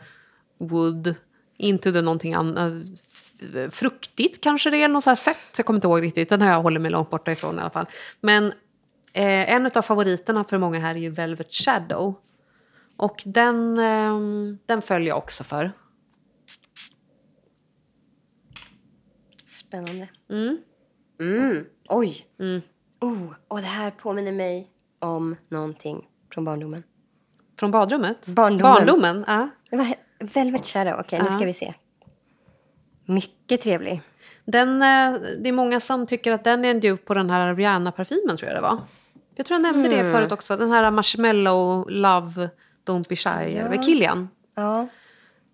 Wood, Into the någonting annat, f- fruktigt kanske det är, eller något så här sätt. Jag kommer inte ihåg riktigt, den här jag håller mig långt borta ifrån i alla fall. Men eh, en av favoriterna för många här är ju Velvet Shadow. Och den, ehm, den följer jag också för. Spännande. Mm. Mm. Oj! Mm. Oh, och det här påminner mig om någonting från barndomen. Från badrummet? Barndomen. Barndomen, ja. Det var Velvet Shadow. Okej, nu Ja. ska vi se. Mycket trevlig. Den, eh, det är många som tycker att den är en dupe på den här Rihanna-parfymen, tror jag det var. Jag tror jag nämnde Mm. det förut också. Den här Marshmallow Love Don't Be Shy Ja. med Kilian. Ja.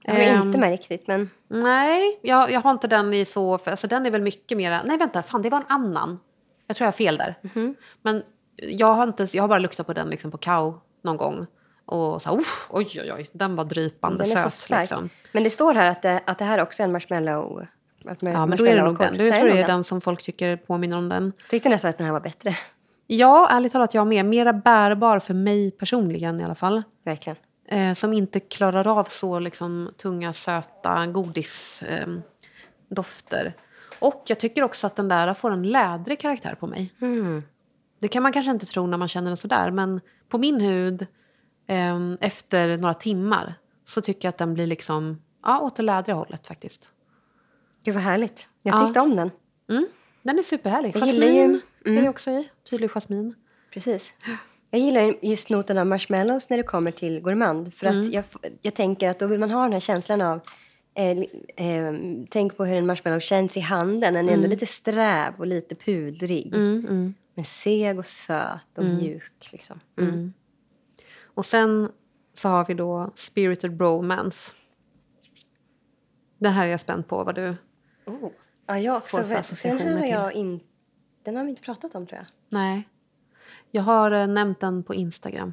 Jag håller Ehm. inte med riktigt, men... Nej, jag, jag har inte den i så... För, alltså den är väl mycket mer... Nej, vänta. Fan, det var en annan. Jag tror jag har fel där. Mhm. Men jag har, inte, jag har bara luktat på den liksom på Kao någon gång. Och så här, "Uff, oj, oj, oj. Den var drypande Den är så söt. stark. Eh, liksom. Men det står här att det, att det här också är en marshmallow. Att Ja, men då är det nog den. Jag tror det är den. den som folk tycker påminner om den. Tyckte nästan att den här var bättre. Ja, ärligt talat jag med. Mera bärbar för mig personligen i alla fall. Verkligen. Eh, som inte klarar av så liksom, tunga, söta godisdofter. Eh, dofter. och jag tycker också att den där får en lädrig karaktär på mig. Mm. Det kan man kanske inte tro när man känner den sådär. Men på min hud, eh, efter några timmar, så tycker jag att den blir liksom, ja, åt det lädriga hållet faktiskt. Gud, vad härligt. Jag Ja. tyckte om den. Mm. Den är superhärlig. Jag gillar ju- Jasmin är Mm. det också i. Tydlig jasmin. Precis. Jag gillar ju just noten av marshmallows när det kommer till gourmand. För Mm. att jag, f- jag tänker att då vill man ha den här känslan av... Eh, li- eh, tänk på hur en marshmallow känns i handen. Den är ändå lite sträv och lite pudrig. Mm, mm. Men seg och söt och mjuk. Liksom. Mm. Och sen så har vi då Spirited Bromance. Det här är jag spänd på vad du... Oh. Ja, jag också. Får för Den associationer här har till. jag in... Den har vi inte pratat om, tror jag. Nej. Jag har eh, nämnt den på Instagram.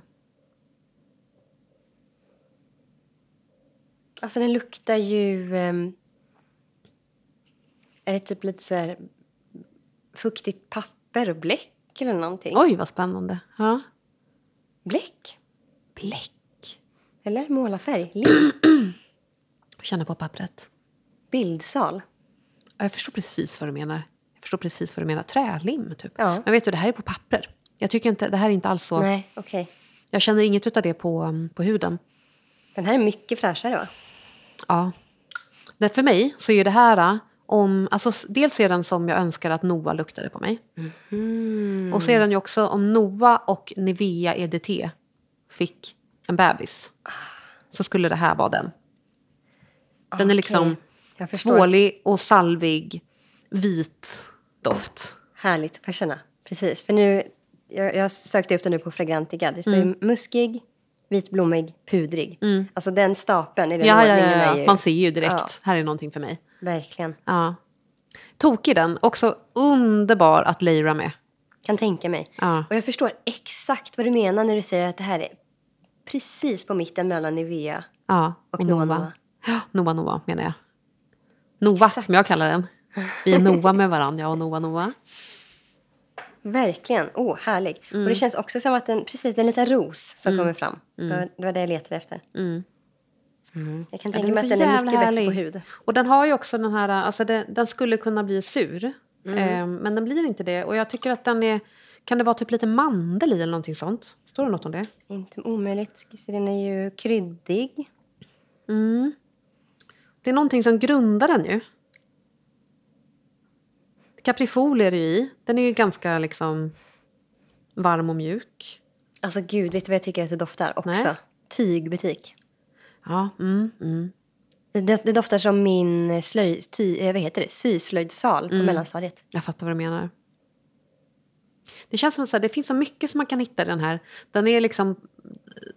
Alltså den luktar ju... ehm, är det typ lite så här fuktigt papper och bläck eller någonting? Oj, vad spännande. Ja. Bläck? Bläck. Eller målarfärg? Lin- Känna på pappret. Bildsal? Ja, jag förstår precis vad du menar. Jag förstår precis vad du menar. Trälim, typ. Ja. Men vet du, det här är på papper. Jag tycker inte, det här är inte alls så... Nej, okej. Jag känner inget utav det på, um, på huden. Den här är mycket fräschare, va? Ja. Det, för mig så är det här äh, om... Alltså, s- dels är den som jag önskar att Noah luktade på mig. Mhm. Och så är den ju också om Noah och Nivea EDT fick en bebis. Så skulle det här vara den. Den är Okej. liksom Jag förstår. tvålig och salvig, vit doft. Härligt, perserna. Precis, för nu... Jag, jag sökte upp den nu på Fragrantica. Det står ju Mm. muskig, vitblommig, pudrig. Alltså den stapeln i den Ja, ja, ordningen ja, är ju... ja. Man ser ju direkt, Ja. här är någonting för mig. Verkligen. Ja. Tokig den, också underbar att lejra med. Kan tänka mig. Ja. Och jag förstår exakt vad du menar när du säger att det här är precis på mitten mellan Nivea. Ja, Och Noa, Noa. [gasps] Noa. Ja, Noa Noa menar jag. Nova Exakt. som jag kallar den. Vi är Noa med varandra, jag och Noa Noa. Verkligen. Åh, oh, härlig. Mm. Och det känns också som att den, precis, den liten ros som kommer fram. Det var- Det var det jag letade efter. Mm. Jag kan Ja, tänka den mig är att så den är jävla mycket härlig. bättre på hud. Och den har ju också den Mm. ehm, här, alltså det, den skulle kunna bli sur. Eh, men den blir inte det. Och jag tycker att den är Kan det vara typ lite mandel i eller någonting sånt? Står det något om det? Inte omöjligt. Den är ju kryddig. Mm. Det är någonting som grundar den ju. Caprifol är det ju i. Den är ju ganska liksom varm och mjuk. Alltså gud, vet du vad jag tycker att det doftar också? Nej. Tygbutik. Ja, mm, mm. Det, det, det doftar som min slöj, ty, eh, vad heter det? syslöjdssal Mm. på mellanstadiet. Jag fattar vad du menar. Det känns som att så här, det finns så mycket som man kan hitta i den här. Den är liksom...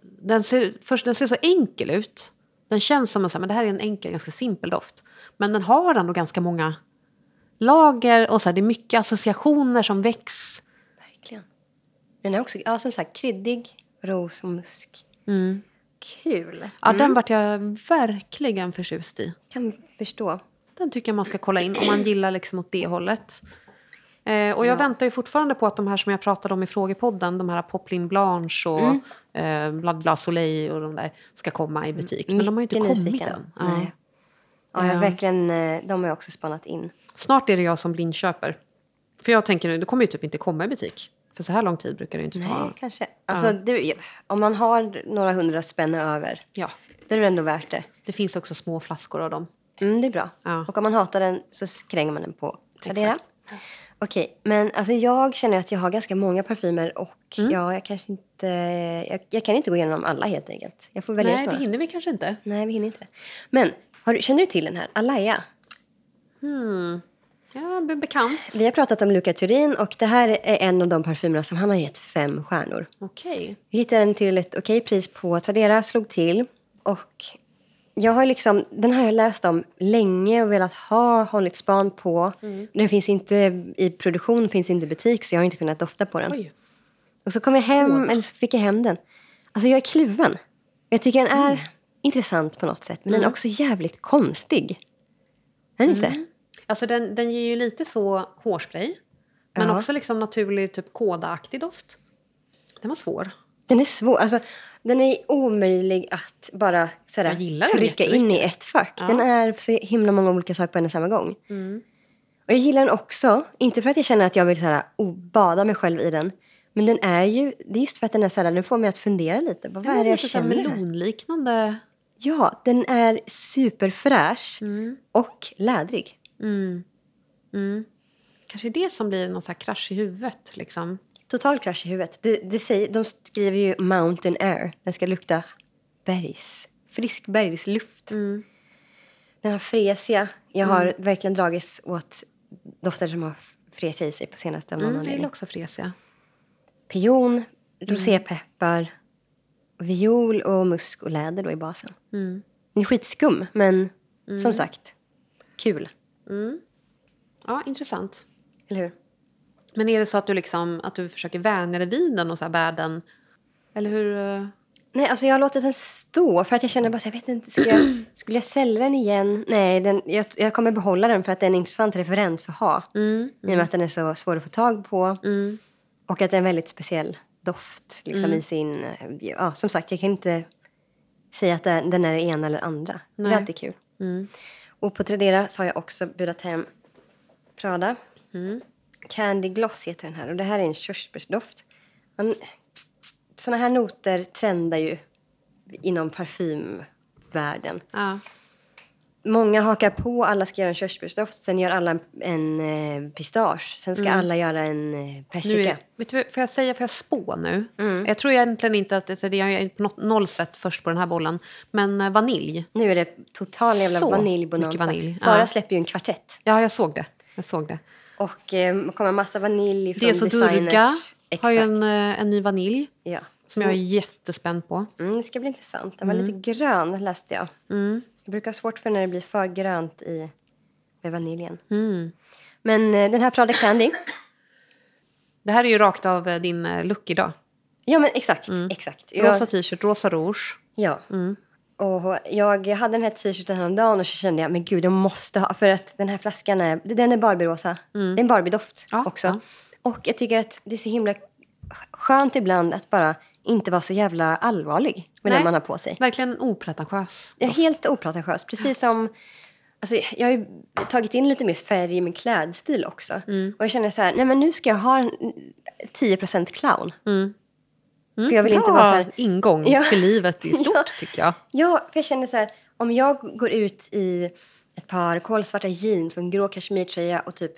Den ser, först, den ser så enkel ut. Den känns som att så här, men det här är en enkel, ganska simpel doft. Men den har ändå ganska många lager och så här, det är mycket associationer som väcks. Verkligen. Den är också, ja som sagt, kryddig, ros och musk. Kul! Mm. Ja, Den vart jag verkligen förtjust i. Kan förstå. Den tycker jag man ska kolla in om man gillar liksom åt det hållet. Eh, och jag väntar ju fortfarande på att de här som jag pratade om i frågepodden, de här Poplin Blanche och Mm. eh, Blad Blas Soleil och de där, ska komma i butik. Men de har ju inte Mycket kommit nyfiken. än. Ja. Nej. Ja, jag har verkligen, eh, de har jag också spannat in. Snart är det jag som blindköper. För jag tänker nu, det kommer ju typ inte komma i butik. För så här lång tid brukar det ju inte ta. Nej, kanske. Alltså, det, om man har några hundra spänn över, Ja, då är det ändå värt det. det finns också små flaskor av dem. Mm, det är bra. Ja. Och om man hatar den så kränger man den på Tradera. Okej, men alltså jag känner att jag har ganska många parfymer och Mm. ja, jag kanske inte... Jag, jag kan inte gå igenom alla helt enkelt. Jag får välja ut Nej, det några. hinner vi kanske inte. Nej, vi hinner inte det. Men har du, känner du till den här? Alaya. Ja, be- bekant. Vi har pratat om Luca Turin och det här är en av de parfymerna som han har gett fem stjärnor. Okej. Vi hittade den till ett okej pris på Tradera, slog till. Och jag har liksom, den här har jag läst om länge och velat ha, hållit span på. Den finns inte i produktion, finns inte i butik så jag har inte kunnat dofta på den. Oj. Och så kom jag hem, eller så fick jag hem den. Alltså jag är kluven. Jag tycker den är intressant på något sätt men den är också jävligt konstig. Är den inte? Alltså den, den ger ju lite så hårspray. Men Ja. också liksom naturlig typ kådaaktig doft. Den var svår. Den är svår. Alltså, den är omöjlig att bara Jag sådär, gillar den trycka in i ett fack. Den är så himla många olika saker på en och samma gång. Mm. Och jag gillar den också, inte för att jag känner att jag vill såhär, oh, bada mig själv i den. Men den är ju, det är just för att den är såhär, den får mig att fundera lite. Vad Den är det jag lite så här känner? här? melonliknande. Ja, den är superfräsch Mm. och lädrig. Mm. Kanske det som blir någon så här krasch i huvudet. Liksom. Total krasch i huvudet. Det, det säger, de skriver ju mountain air. Den ska lukta bergs. Frisk Mm. bergsluft. Den har fresia. Jag har verkligen dragits åt dofter som har fresia i sig på senaste av någon Mm, jag gillar anledning. också fresiga. Pion, rosépeppar, viol och musk och läder då i basen. Mm. Den är skitskum, men som sagt, kul. Ja, intressant. Eller hur? Men är det så att du, liksom, att du försöker vänja dig vid den och så här bär den? Eller hur? eh, Nej, alltså jag har låtit den stå för att jag känner bara så jag vet inte, ska jag, [clears throat] skulle jag sälja den igen? Nej, den, jag, jag kommer behålla den för att det är en intressant referens att ha. Mm. I och med att den är så svår att få tag på. Och att det är en väldigt speciell doft liksom, Mm. i sin... Ja, som sagt, jag kan inte säga att det- den är det ena eller andra. Det Nej. Mm. är alltid kul. Och på Tradera så har jag också budat hem Prada. Mm. Candy Gloss heter den här och det här är en körsbärsdoft. Man, såna här noter trendar ju inom parfymvärlden. Ja. Många hakar på, alla ska göra en körsbärsdoft, sen gör alla en, en eh, pistage, sen ska alla göra en eh, Mm. Nu persika. är, vet du, vad- får jag säga, får jag spå nu? Mm. Jag tror egentligen inte att, alltså, det är jag på något, noll sätt först på den här bollen. Men eh, vanilj. Nu är det total jävla Så vaniljbonanza. mycket vanilj, Sara ja. släpper ju en kvartett. Ja, jag såg det. Jag såg det. Och eh, kommer massa vanilj från Det är så designers. Durga Exakt. har ju en, eh, en ny vanilj ja. som jag Mm. är jättespänd på. Mm, det ska bli intressant. Den var lite grön läste jag. Mm. Jag brukar ha svårt för när det blir för grönt i, med vaniljen. Mm. Men eh, den här Prada Candy. Det här är ju rakt av eh, din eh, look idag. Ja men exakt, exakt. Jag, Mm. Rosa t-shirt, rosa rouge. ja. Mm. Och jag hade den här t-shirten häromdagen och så kände jag men gud jag måste ha för att den här flaskan är, den är Barbie-rosa. Det är en Barbie-doft Mm. Ja, också. ja. Och jag tycker att det är så himla skönt ibland att bara inte vara så jävla allvarlig med Nej. den man har på sig. Verkligen opretentiös. Jag är helt opretentiös. Precis som Alltså, jag har ju tagit in lite mer färg i min klädstil också. Mm. Och jag känner så här, nej men nu ska jag ha en 10% clown. För jag vill inte Mm. Bra vara så här, ingång Ja. till [laughs] livet i stort, Ja. tycker jag. Ja, för jag känner så här, om jag går ut i ett par kolsvarta jeans och en grå kashmirtröja och typ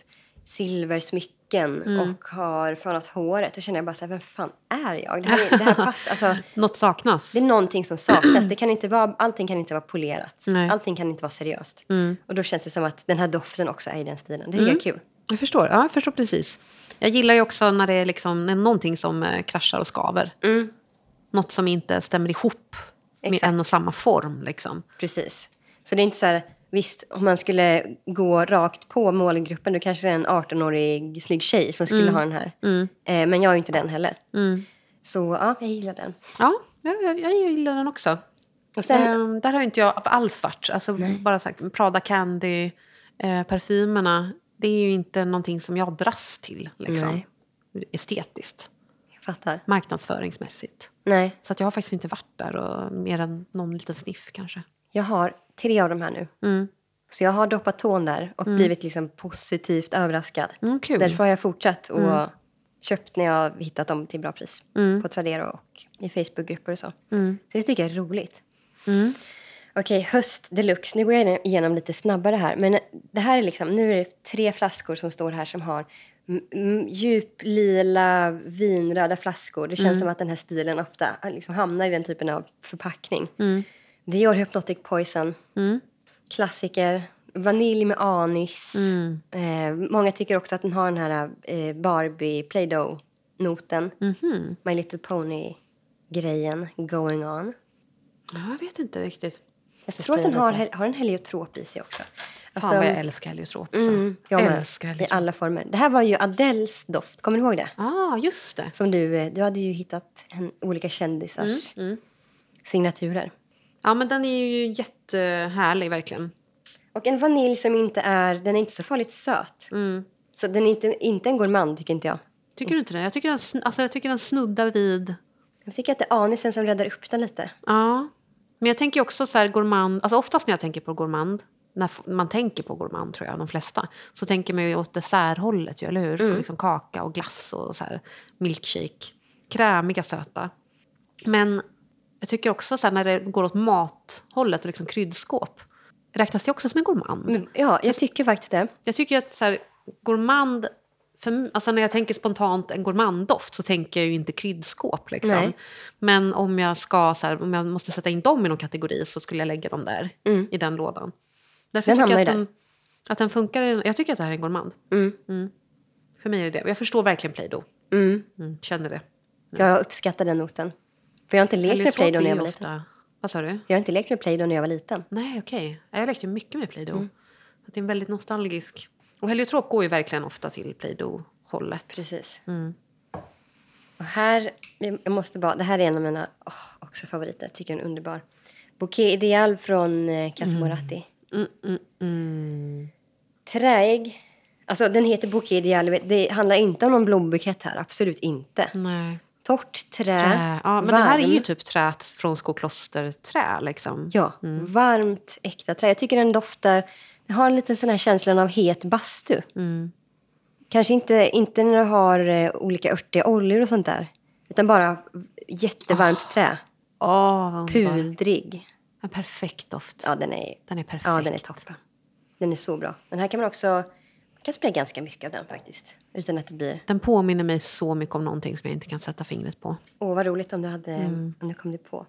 silversmycken Mm. och har fönat håret, då känner jag bara så här, vem fan är jag? Det här, är- det [laughs] här pass, alltså, Något saknas. det är någonting som saknas. Det kan inte vara, allting kan inte vara polerat. Nej. Allting kan inte vara seriöst. Mm. Och då känns det som att den här doften också är i den stilen. Det tycker jag är kul. Jag förstår, ja, jag förstår precis. Jag gillar ju också när det är liksom när någonting som eh, kraschar och skaver. Mm. Något som inte stämmer ihop med Exakt. en och samma form. Liksom. Precis. Så det är inte så här, visst om man skulle gå rakt på målgruppen då kanske det är en 18-årig snygg tjej som skulle ha den här. Eh, men jag är ju inte den heller. Så ja, jag gillar den. Mm. Ja, jag, jag, jag gillar den också. Och sen, Ehm, där har ju inte jag alls varit. Alltså, bara sagt, Prada Candy, eh, parfymerna. Det är ju inte någonting som jag dras till. Liksom. Estetiskt, jag fattar. marknadsföringsmässigt. Nej, Så att jag har faktiskt inte varit där, och mer än någon liten sniff kanske. jag har tre av de här nu. Mm. Så jag har doppat tån där och blivit liksom positivt överraskad. Mm, kul. Därför har jag fortsatt och köpt när jag har hittat dem till bra pris. På Tradera och i Facebookgrupper och så. Så det tycker jag är roligt. Mm. Okej, höst deluxe. Nu går jag igenom lite snabbare här. Men det här är liksom, nu är det tre flaskor som står här som har m- m- djuplila vinröda flaskor. Det känns som att den här stilen ofta liksom hamnar i den typen av förpackning. mm, Dior Hypnotic Poison. Klassiker. Vanilj med anis. Eh, många tycker också att den har den här eh, Barbie Play-Doh-noten. Mhm. My Little Pony-grejen going on. Ja, jag vet inte riktigt. Jag Så tror att den fri har, lite. hel- har en heliotrop i sig också. Fan vad jag älskar heliotrop. alltså. Alltså- mm, jag med. älskar I heliotrop. alla former. Det här var ju Adels doft, kommer du ihåg det? Ja, ah, just det. Som du, eh, du hade ju hittat en, olika kändisars Mm, signaturer. Ja, men den är ju jättehärlig verkligen. Och en vanilj som inte är, den är inte så farligt söt. Mm. Så den är inte, inte en gourmand tycker inte jag. Tycker du inte det? Jag tycker den, sn- alltså, jag tycker den snuddar vid... Jag tycker att det är anisen som räddar upp den lite. Ja. Men jag tänker också så här gourmand... Alltså oftast när jag tänker på gourmand, när f- man tänker på gourmand tror jag, de flesta, så tänker man ju åt desserthållet ju, eller hur? Liksom kaka och glass och så här milkshake. Krämiga, söta. Men jag tycker också så här när det går åt mathållet och liksom kryddskåp, räknas det också som en gourmand? Men, ja, jag tycker faktiskt det. Jag tycker ju att så här, gourmand... För, alltså när jag tänker spontant en gourmanddoft så tänker jag ju inte kryddskåp. Liksom. Nej. Men om jag, ska, så här, om jag måste sätta in dem i någon kategori så skulle jag lägga dem där, Mm. i den lådan. Därför Den tycker jag att, hamnar ju den, att den funkar. i- Jag tycker att det här är en gourmand. Mm. För mig är det det. Jag förstår verkligen Play-Doh. Mm. Mm, känner det. Jag uppskattar den noten. För jag har inte lekt med Heliotrop Play-Doh när jag är ju var liten. ofta... Vad sa du? Jag har inte lekt med Play-Doh när jag var liten. Nej, okej. Jag lekte ju mycket med Play-Doh. Mm. Så att Det är en väldigt nostalgisk... Och heliotrop går ju verkligen ofta till Play-Doh-hållet. Precis. Mm. Och här, jag måste bara, det här är en av mina åh, också favoriter. Jag tycker den är underbar. Bouquet Ideal från eh, Casa Moratti. Mm, mm, mm. Träig. Alltså den heter Bouquet Ideal. Det handlar inte om någon blombukett här. Absolut inte. Nej. Torrt trä. Mm. Trä. Ja, men det här är varm. ju typ trät från Skoklosterträ. Liksom. Ja, varmt äkta trä. Jag tycker den doftar... Den har lite sån här känslan av het bastu. Mm. Kanske inte, inte när du har eh, olika örtiga oljor och sånt där. Utan bara jättevarmt Ah, trä. Åh, vad underbar. Pudrig. En perfekt doft. Ja, den är, Den är perfekt. ja, den är toppen. Den är så bra. Den här kan man också... Man kan spraya ganska mycket av den faktiskt. Utan att det blir... Den påminner mig så mycket om någonting som jag inte kan sätta fingret på. Åh, vad roligt om du hade... Om du kom det på.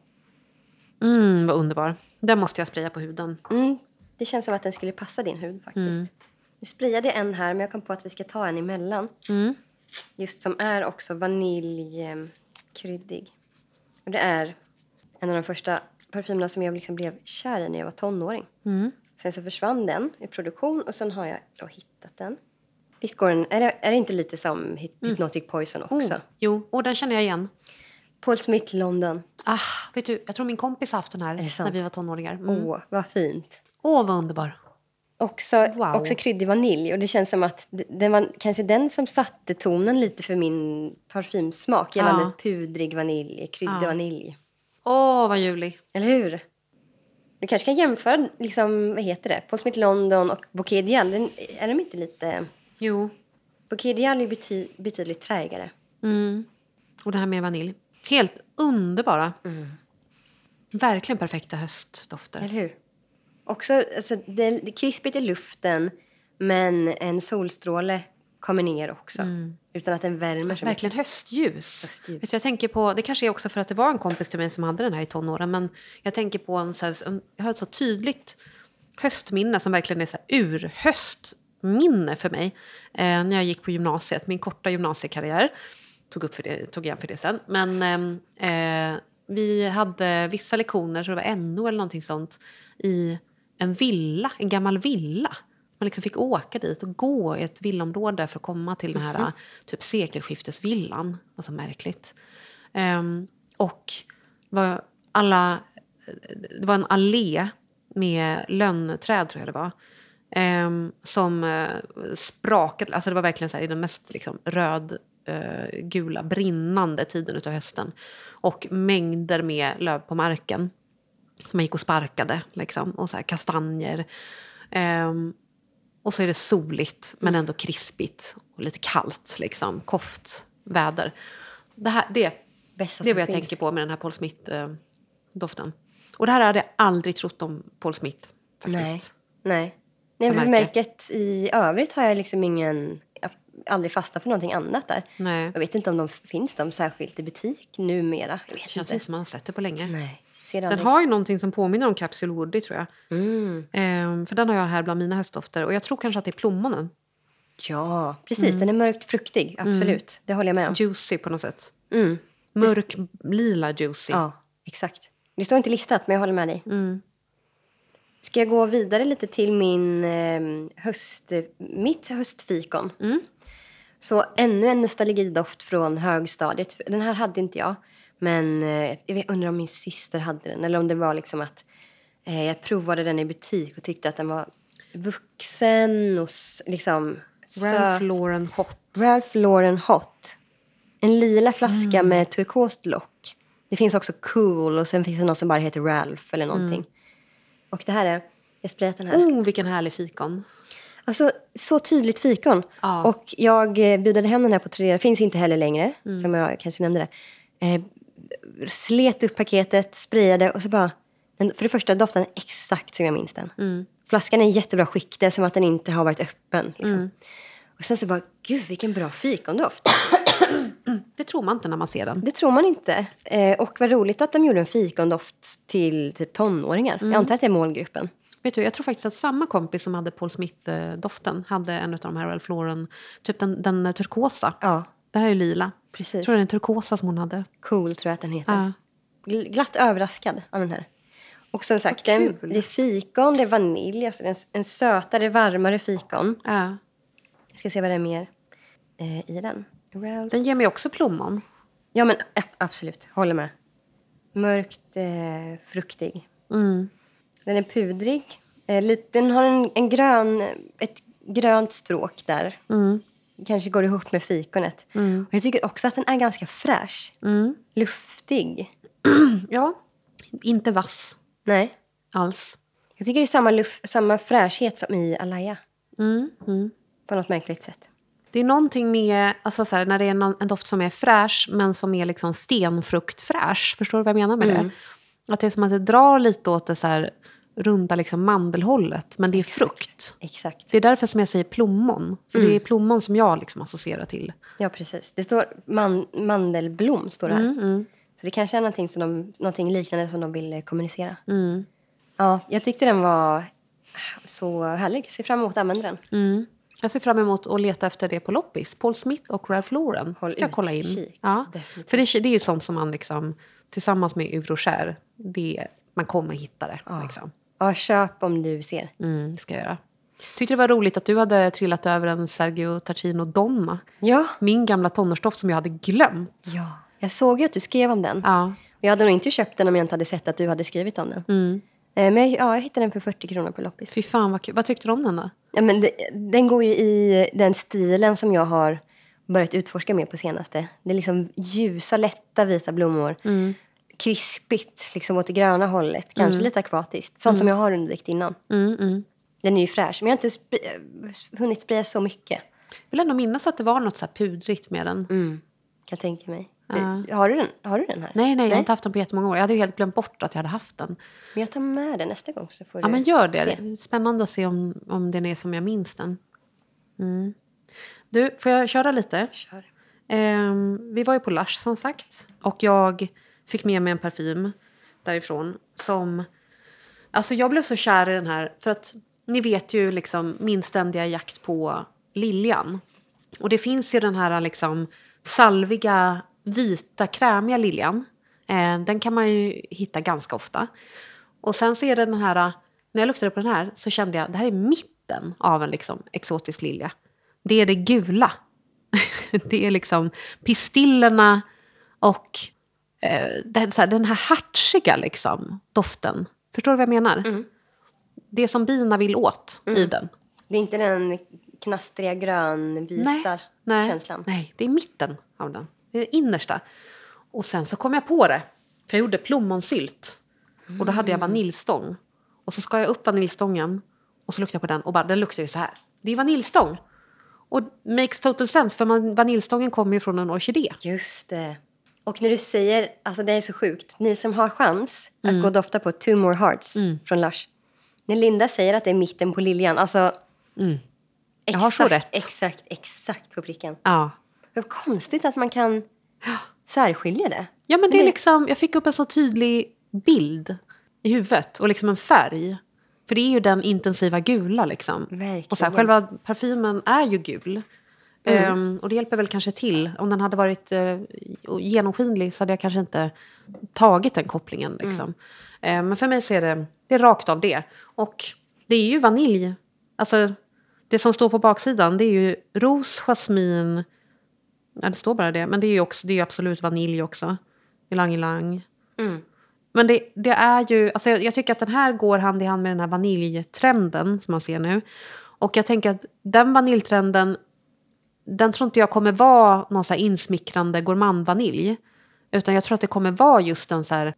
Mm, vad underbar. Den måste jag spraya på huden. Mm, det känns som att den skulle passa din hud faktiskt. Mm. Nu sprayade jag en här, men jag kom på att vi ska ta en emellan. Mm. Just som är också vaniljkryddig. Och det är en av de första parfymerna som jag liksom blev kär i när jag var tonåring. Mm. Sen så försvann den i produktion och sen har jag då hittat den. Visst går den, är det, är det inte lite som Hy- Hypnotic Poison också? Mm. Oh, jo, och den känner jag igen. Paul Smith London. Ah, vet du, jag tror min kompis har haft den här det sant? när vi var tonåringar. Mm. Åh, Åh, vad fint. vad underbar. Också, Wow. också kryddig vanilj. Och det känns som att d- den var kanske den som satte tonen lite för min parfymsmak gällande Ja. pudrig vanilj, kryddig Ja. vanilj. Åh, vad ljuvlig. Eller hur? Du kanske kan jämföra, liksom, vad heter det, Paul Smith London och Bouquet Dial. Den- Är de inte lite... Jo. Bouquet Dial är bety, betydligt träigare. Mm. Och det här med vanilj. Helt underbara. Verkligen perfekta höstdofter. Eller hur? Också, alltså, det, det är krispigt i luften, men en solstråle kommer ner också. Utan att den värmer så mycket. Mm. Verkligen höstljus. Höstljus. Vet du, jag tänker på, det kanske är också för att det var en kompis till mig som hade den här i tonåren. Men jag tänker på en, så här, en jag har ett så tydligt höstminne som verkligen är så här urhöstminne för mig. Eh, när jag gick på gymnasiet, min korta gymnasiekarriär. Tog, upp för det, tog igen för det sen. Men ehm, eh, vi hade vissa lektioner, så det var NO eller någonting sånt, i en villa, en gammal villa. Man liksom fick åka dit och gå i ett villaområde för att komma till den här typ sekelskiftesvillan. Det var så märkligt. Ehm, och var alla, det var en allé med lönnträd, tror jag det var. ehm, som eh, sprakade, alltså det var verkligen så här, i den mest liksom, röd, eh, gula, brinnande tiden utav hösten. Och mängder med löv på marken. Som man gick och sparkade, liksom. Och så här kastanjer. Ehm, och så är det soligt, men ändå krispigt. Och lite kallt, liksom. Koftväder. Det, här, det, Bästa det är som vad jag finns. tänker på med den här Paul Smith-doften. och det här hade jag aldrig trott om Paul Smith, faktiskt. Nej. Nej. Nej För men märket. märket i övrigt har jag liksom ingen... Jag har aldrig fastnat för någonting annat där. Nej. Jag vet inte om de finns de särskilt i butik numera. Jag Det vet känns inte. inte som man har sett det på länge. Nej. Ser Den aldrig. har ju någonting som påminner om Capsule Woody, tror jag. Mm. Ehm, för den har jag här bland mina höstdofter. Och jag tror kanske att det är plommonen. Ja, precis. Mm. Den är mörkt fruktig. Absolut. Det håller jag med om. Juicy på något sätt. Mm. Mörk, lila juicy. Mm. Ja, exakt. Det står inte listat, men jag håller med dig. Ska jag gå vidare lite till min eh, höst, mitt höstfikon? Så ännu en nostalgidoft från högstadiet. Den här hade inte jag. Men eh, jag vet- undrar om min syster hade den. Eller om det var liksom att eh, jag provade den i butik och tyckte att den var vuxen och s- liksom Ralph söt. Lauren Hot. Ralph Lauren Hot. En lila flaska med turkost lock. Det finns också Cool och sen finns det någon som bara heter Ralph eller någonting. Och det här är, jag sprayat den här. Oh, vilken härlig fikon. Alltså så tydligt fikon. Ja. Och jag eh, bjudade hem den här på Tradera, finns inte heller längre, som jag kanske nämnde det. Eh, slet upp paketet, sprayade och så bara, den, för det första doftade den exakt som jag minns den. Flaskan är i jättebra skick, det är som att den inte har varit öppen. Liksom. Och sen så bara, gud vilken bra fikondoft. Det tror man inte när man ser den. Det tror man inte. Eh, och vad roligt att de gjorde en fikondoft till typ tonåringar. Mm. Jag antar att det är målgruppen. Vet du, jag tror faktiskt att samma kompis som hade Paul Smith-doften hade en av de här Ralph Lauren, typ den, den turkosa. Ja, Det här är lila. precis. Jag tror det är den turkosa som hon hade. Cool tror jag att den heter. Ja. Gl- Glatt överraskad av den här. Och som sagt, Vad den, kul. det är fikon, det är vanilj, alltså det är en, s- en sötare, varmare fikon. Ja. Jag ska se vad det är mer eh, i den. Ralph. Den ger mig också plommon. Ja, men ä- absolut. Håller med. Mörkt eh, fruktig. Mm. Den är pudrig. Eh, lite- Den har en, en grön, ett grönt stråk där. mm. Kanske går ihop med fikonet. Och jag tycker också att den är ganska fräsch. Mm. Luftig. Ja. Inte vass Nej. alls. Jag tycker det är samma, luff, samma fräschhet som i Alaya. Mm. Mm. På något märkligt sätt. Det är någonting med, alltså så här, när det är någon, en doft som är fräsch men som är liksom stenfruktfräsch. Förstår du vad jag menar med Mm. det? Att det är som att det drar lite åt det så här, runda liksom mandelhållet, men det är frukt. Exakt. Det är därför som jag säger plommon. För det är Mm. plommon som jag liksom associerar till. Ja, precis. Det står man, mandelblom. Står det här. Mm. Så det kanske är någonting, som de, någonting liknande som de vill eh, kommunicera. Mm. Ja, jag tyckte den var ah, så härlig. Ser fram emot att använda den. Jag ser fram emot att leta efter det på loppis. Paul Smith och Ralph Lauren. Håll Ska jag kolla in. utkik, Ja. definitivt. För det, är- det är ju sånt som man liksom, tillsammans med Eurochair, det, man kommer hitta det. Liksom. Ja, köp om du ser. Mm, det ska jag göra. Tyckte det var roligt att du hade trillat över en Sergio Tartino Donna. Ja. Min gamla tonårsdoft som jag hade glömt. ja. Jag såg ju att du skrev om den. Ja. Och Jag hade nog inte köpt den om jag inte hade sett att du hade skrivit om den. Eh, Men jag, ja, jag hittade den för 40 kronor på loppis. Mm. Fy fan vad kul. Vad tyckte du om den då? Ja, men det, den går ju i den stilen som jag har Mm. börjat utforska mer på senaste. Det är liksom ljusa, lätta vita blommor. krispigt, liksom åt det gröna hållet. Kanske lite akvatiskt. Sånt som jag har undvikit innan. Mm, mm. Den är ju fräsch, men jag har inte spri- hunnit spraya så mycket. vill ändå minnas att det var något så här pudrigt med den. Kan jag tänka mig. Mm. Ja. Har, du den? har du den här? Nej, nej, jag har inte haft den på jättemånga år. Jag hade ju helt glömt bort att jag hade haft den. Men jag tar med den nästa gång så får Ja, du men gör det. se. Det är Spännande att se om, om den är som jag minns den. Mm. Du, får jag köra lite? Kör. Ehm, vi var ju på Lush som sagt. Och jag fick med mig en parfym därifrån som... Alltså jag blev så kär i den här för att ni vet ju liksom min ständiga jakt på liljan. Och det finns ju den här liksom salviga, vita, krämiga liljan. Eh, den kan man ju hitta ganska ofta. Och sen så är det den här, när jag luktade på den här så kände jag det här är mitten av en liksom exotisk lilja. Det är det gula. [laughs] det är liksom pistillerna och eh, den, så här, den här hartsiga liksom, doften. Förstår du vad jag menar? Det som bina vill åt i den. Det är inte den knastriga grönvita nej, känslan. Nej, det är mitten av den. Det är det innersta. Och sen så kom jag på det. För jag gjorde plommonsylt. Och då hade jag vaniljstång. Och så skar jag upp vaniljstången. Och så luktade jag på den och bara, den luktar ju så här. Det är vaniljstång. Och makes total sense, för man, vaniljstången kommer ju från en orkidé. Just det. Och när du säger, alltså det är så sjukt, ni som har chans Mm. att gå och dofta på Two More Hearts från Lush. När Linda säger att det är mitten på liljan, alltså... Mm. Jag har så exakt, rätt. Exakt, exakt på pricken. Ja. Vad konstigt att man kan särskilja det. Ja, men det är det- liksom, jag fick upp en så tydlig bild i huvudet och liksom en färg. För det är ju den intensiva gula liksom. Verkligen. Och så här, själva parfymen är ju gul. Ehm, och det hjälper väl kanske till. Om den hade varit eh, genomskinlig så hade jag kanske inte tagit den kopplingen. Liksom. Ehm, men för mig så är det, det är rakt av det. Och det är ju vanilj. Alltså, det som står på baksidan det är ju ros, jasmin, Ja, det står bara det. Men det är ju, också, det är ju absolut vanilj också. Ylang-ylang. Mm. Men det, det är ju... Alltså jag, jag tycker att den här går hand i hand med den här vaniljtrenden som man ser nu. Och jag tänker att den vaniljtrenden, den tror inte jag kommer vara någon så här insmickrande gourmandvanilj. Utan jag tror att det kommer vara just en så här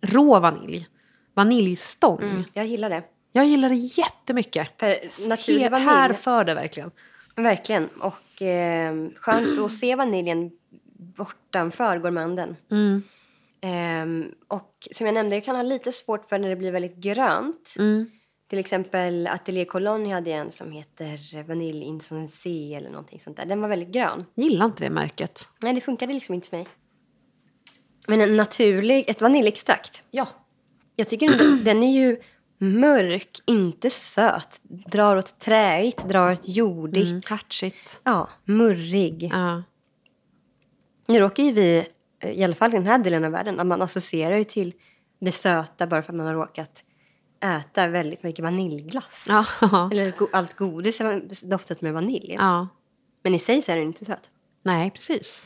rå vanilj. Vaniljstång. Mm, jag gillar det. Jag gillar det jättemycket. Per, naturlig Här, vanilj. här för det verkligen. Verkligen. Och eh, skönt att se vaniljen bortanför gourmanden. Mm. Ehm, och som jag nämnde, jag kan ha lite svårt för när det blir väldigt grönt. Mm. Till exempel Atelier Cologne hade jag en som heter Vanille Insensé eller någonting sånt där. Den var väldigt grön. Gillar inte det märket. Nej, det funkade liksom inte för mig. Men en naturlig, ett vaniljextrakt. Ja. Jag tycker den, den är ju mörk, inte söt. Drar åt träigt, drar åt jordigt. Mm. Hatchigt. Ja, murrig. Ja. [laughs] Nu råkar ju vi, eh, i alla fall i den här delen av världen, att man associerar ju till det söta bara för att man har råkat äta väldigt mycket vaniljglass. Ja. Eller go- allt godis har doftat med vanilj. ja. Men i sig så är den inte söt. Nej, precis.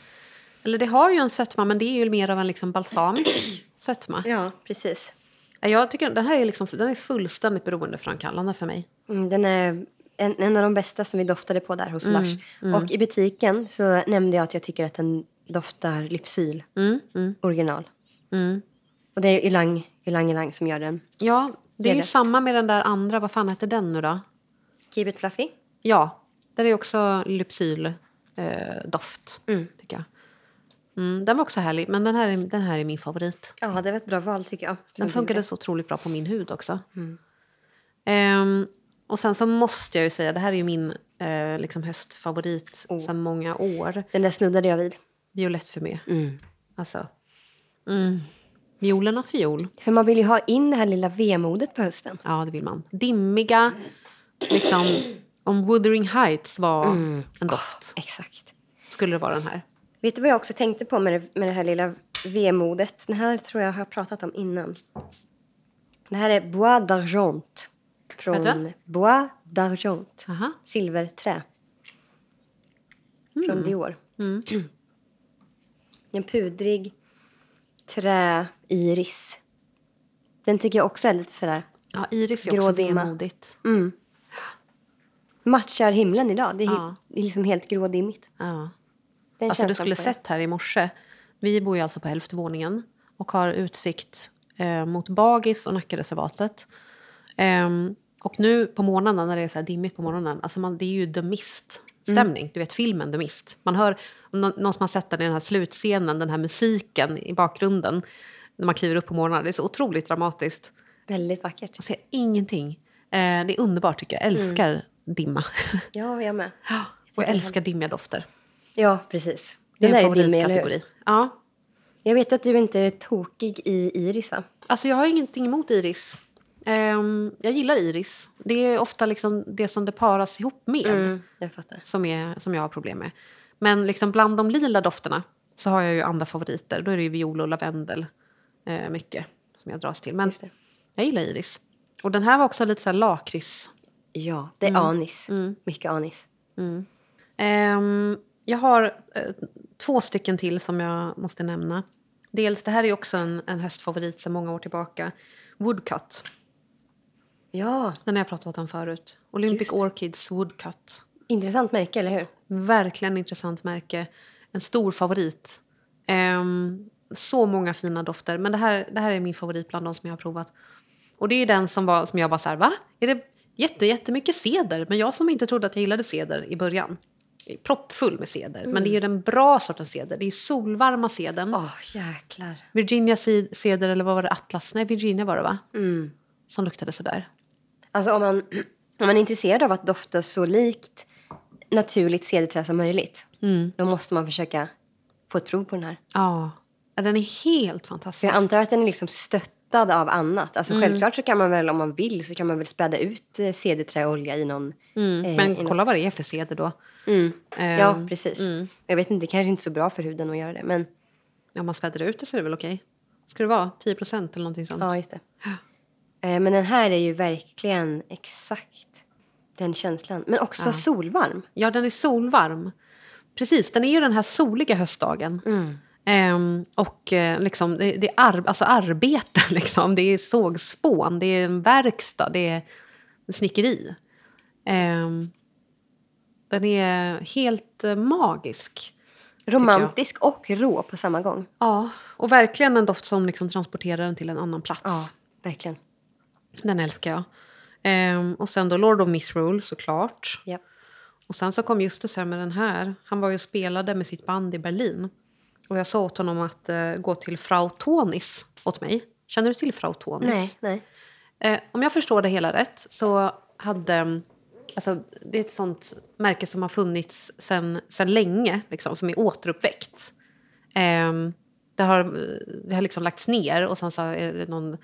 Eller det har ju en sötma, men det är ju mer av en [clears throat] liksom balsamisk sötma. Ja, precis. Ja, Jag tycker den här är, liksom, den är fullständigt beroendeframkallande för mig. Mm, den är en, en av de bästa som vi doftade på där Mm, hos Lars. Och i butiken så nämnde jag att jag tycker att den doftar Lypsyl Mm, mm, original. mm. Och det är Ylang Ylang, Ylang som gör den. Ja, det Det är är ju det. samma med den där andra. Vad fan heter den nu då? Keep it fluffy. Ja, där är ju också lypsyldoft, eh, doft, Mm. tycker jag. Mm, den var också härlig, men den här, är- den här är min favorit. Ja, det var ett bra val tycker jag. Den Som du funkade gjorde. så otroligt bra på min hud också. Ehm, och sen så måste jag ju säga, det här är ju min eh, liksom höstfavorit Oh. sedan många år. Den där snuddade jag vid. Violett för mig. Alltså. Mm. Violernas viol. För man vill ju ha in det här lilla vemodet på hösten. Ja, det vill man. Dimmiga, liksom. Om Wuthering Heights var en doft Exakt. skulle det vara den här. Vet du vad jag också tänkte på med det, med det här lilla vemodet? Den här tror jag har pratat om innan. Det här är Bois d'Argent. Vad heter Från Bois d'Argent. Aha. Silverträ. Från Dior. Mm. [clears throat] En pudrig träiris. Den tycker jag också är lite sådär... Ja, iris är Grå också dimma. vemodigt. Mm. Matchar himlen idag. Det är, Ja. det är liksom helt grådimmigt. Ja. Den Alltså, du känslan skulle får jag. sett här i morse. Vi bor ju alltså på hälftvåningen. och har utsikt eh, mot Bagis och Nackareservatet. Ehm, och nu på morgnarna när det är så här dimmigt på morgonen, alltså man, det är ju The Mist-stämning. Mm. Du vet filmen The Mist. Man hör nå- någon som har sett den i den här slutscenen, den här musiken i bakgrunden när man kliver upp på morgonen. Det är så otroligt dramatiskt. Väldigt vackert. Man ser ingenting. Eh, det är underbart tycker jag. Jag älskar dimma. Mm. Ja, jag med. och [laughs] jag älskar dimmiga dofter. Ja, precis. Det Den är en där din med, eller hur? favoritkategori. Ja. Jag vet att du inte är tokig i iris, va? Alltså jag har ingenting emot iris. Ehm, jag gillar iris. Det är ofta liksom det som det paras ihop med Jag fattar. som, är, som jag har problem med. Men liksom bland de lila dofterna så har jag ju andra favoriter. Då är det ju viol och lavendel eh, mycket som jag dras till. Men Just det. jag gillar iris. Och den här var också lite så här lakrits. Ja, det är anis. Mycket anis. Ehm, jag har eh, två stycken till som jag måste nämna. Dels, det här är ju också en, en höstfavorit sedan många år tillbaka. Woodcut. Ja, Den har jag pratat om förut. Olympic Orchids Woodcut. intressant märke, eller hur? Verkligen intressant märke. En stor favorit. Ehm, så många fina dofter. Men det här, det här är min favorit bland de som jag har provat. Och det är den som, var, som jag bara så här, va? Är det jätte, jättemycket ceder? Men jag som inte trodde att jag gillade ceder i början. Proppfull med ceder. Men det är ju den bra sortens ceder. Det är ju solvarma ceden. Åh, jäklar. Virginia ce- ceder, eller vad var det? Atlas? Nej, Virginia var det va? Mm. Som luktade sådär. Alltså, om man, [clears throat] om man är intresserad av att dofta så likt naturligt cederträ som möjligt Mm. då måste man försöka få ett prov på den här. Ja. Ja, Den är helt För fantastisk. jag antar att den är liksom stöttad av annat. Alltså självklart så kan man väl om man vill så kan man väl späda ut eh, cederträolja i någon... Mm, eh, i men något- kolla vad det är för seder då. Mm. Eh, Ja, precis. Mm. Jag vet inte, det kanske inte är så bra för huden att göra det. Men Om man späder ut det så är det väl okej. Ska det vara 10 eller någonting sånt? ja, just det. Eh, Men den här är ju verkligen exakt den känslan. Men också solvarm. Ja, den är solvarm. Precis, den är ju den här soliga höstdagen. Mm, Ehm, och eh, liksom, det, det är ar- alltså arbete, [laughs] liksom. det är sågspån, det är en verkstad, det är snickeri. Ehm, den är helt eh, magisk. Romantisk och rå på samma gång. Ja, och verkligen en doft som liksom transporterar en till en annan plats. Ja, verkligen. Den älskar jag. Ehm, och sen då Lord of Misrule såklart. Ja. Och sen så kom Justus med den här. Han var ju och spelade med sitt band i Berlin. Och jag sa åt honom att eh, gå till Frau Tonis åt mig. Känner du till Frau Tonis? Nej, nej. Eh, om jag förstår det hela rätt så hade... mm, Alltså, det är ett sånt märke som har funnits sen, sen länge, liksom, som är återuppväckt. Ehm, det har, det har liksom lagts ner och sen så är det någon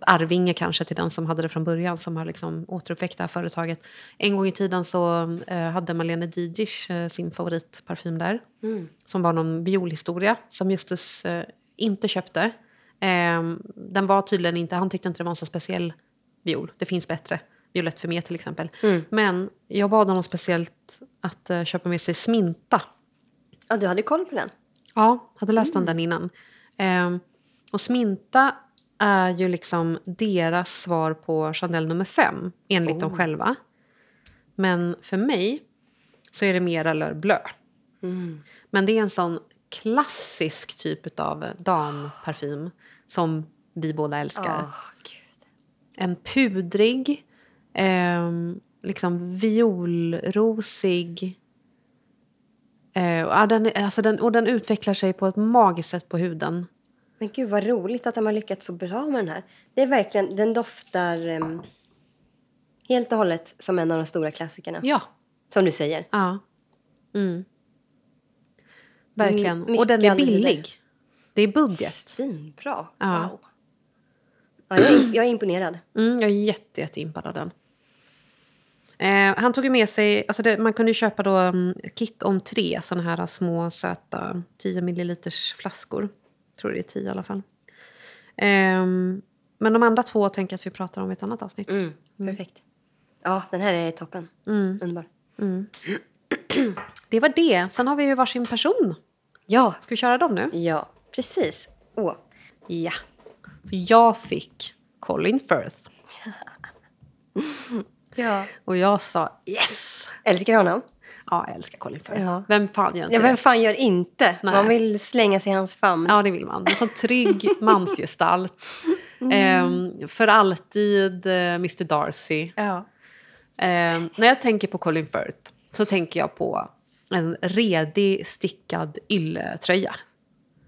arvinge kanske till den som hade det från början som har liksom återuppväckt det här företaget. En gång i tiden så eh, hade Marlene Dietrich eh, sin favoritparfym där Mm. som var någon violhistoria som Justus eh, inte köpte. Ehm, den var tydligen inte, han tyckte inte det var en så speciell viol. Det finns bättre. Violett Vermeer till exempel. Mm. Men jag bad honom speciellt att eh, köpa med sig Sminta Ja, du hade koll på den. Ja, hade läst om den innan. Ehm, och Sminta är ju liksom deras svar på Chanel nummer fem, enligt dem själva. Men för mig så är det mera Leur Bleu. Mm, Men det är en sån klassisk typ av damparfym som vi båda älskar. Åh, gud. En pudrig, ehm, liksom violrosig. Eh, och, ja, den, är- alltså den, och den utvecklar sig på ett magiskt sätt på huden. Men gud vad roligt att de har lyckats så bra med den här. Det är verkligen, den doftar ehm, helt och hållet som en av de stora klassikerna. Ja. Som du säger. ja. Mm. Verkligen. My- och den är mycket billig. Det är budget. Svinbra. Ja. Wow. Ja, jag, är, jag är imponerad. Mm, jag är jätte, jätteimpad av den. Eh, han tog ju med sig... Alltså det, man kunde ju köpa då mm, kit om tre såna här små söta 10 milliliters flaskor. tror det är 10 i alla fall. Ehm, men de andra två tänker jag att vi pratar om i ett annat avsnitt. Mm. Perfekt. Ja, den här är toppen. Mm. Underbar. Det var det. Sen har vi ju varsin person. Ja, Ska vi köra dem nu? ja, precis. Åh. Ja. Så jag fick Colin Firth. Ja. Och jag sa yes! Älskar honom. Ja, jag älskar Colin Firth. Ja. Vem fan gör inte Ja, det? vem fan gör inte? Nej. Man vill slänga sig i hans famn. Ja, det vill man. En sån trygg mansgestalt. Ehm, för alltid eh, Mr Darcy. Ja. Ehm, när jag tänker på Colin Firth så tänker jag på en redig stickad ylletröja.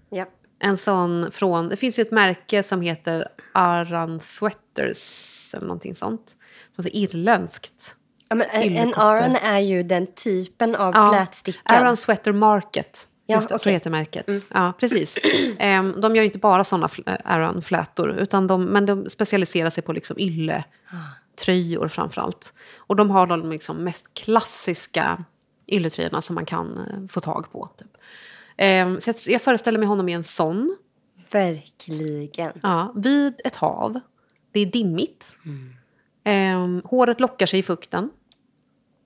Ja. En sån från... Det finns ju ett märke som heter Aran Sweaters eller någonting sånt. Som är irländskt. Ja, men eh, en en Yllekoster. aran är ju den typen av Ja, flätstickad. Aran Sweater Market. Ja, Just det, så okej. Mm. heter märket. Ja, [clears throat] precis. Ehm, de gör inte bara såna fl- eh, Aran-flätor, utan de, men de specialiserar sig på liksom Ah, ylletröjor framför allt. Och de har de liksom mest klassiska ylletröjorna som man kan eh, få tag på. Typ. Ehm, så jag, jag föreställer mig honom i en sån. Verkligen. Ja, vid ett hav. Det är dimmigt. Ehm, håret lockar sig i fukten.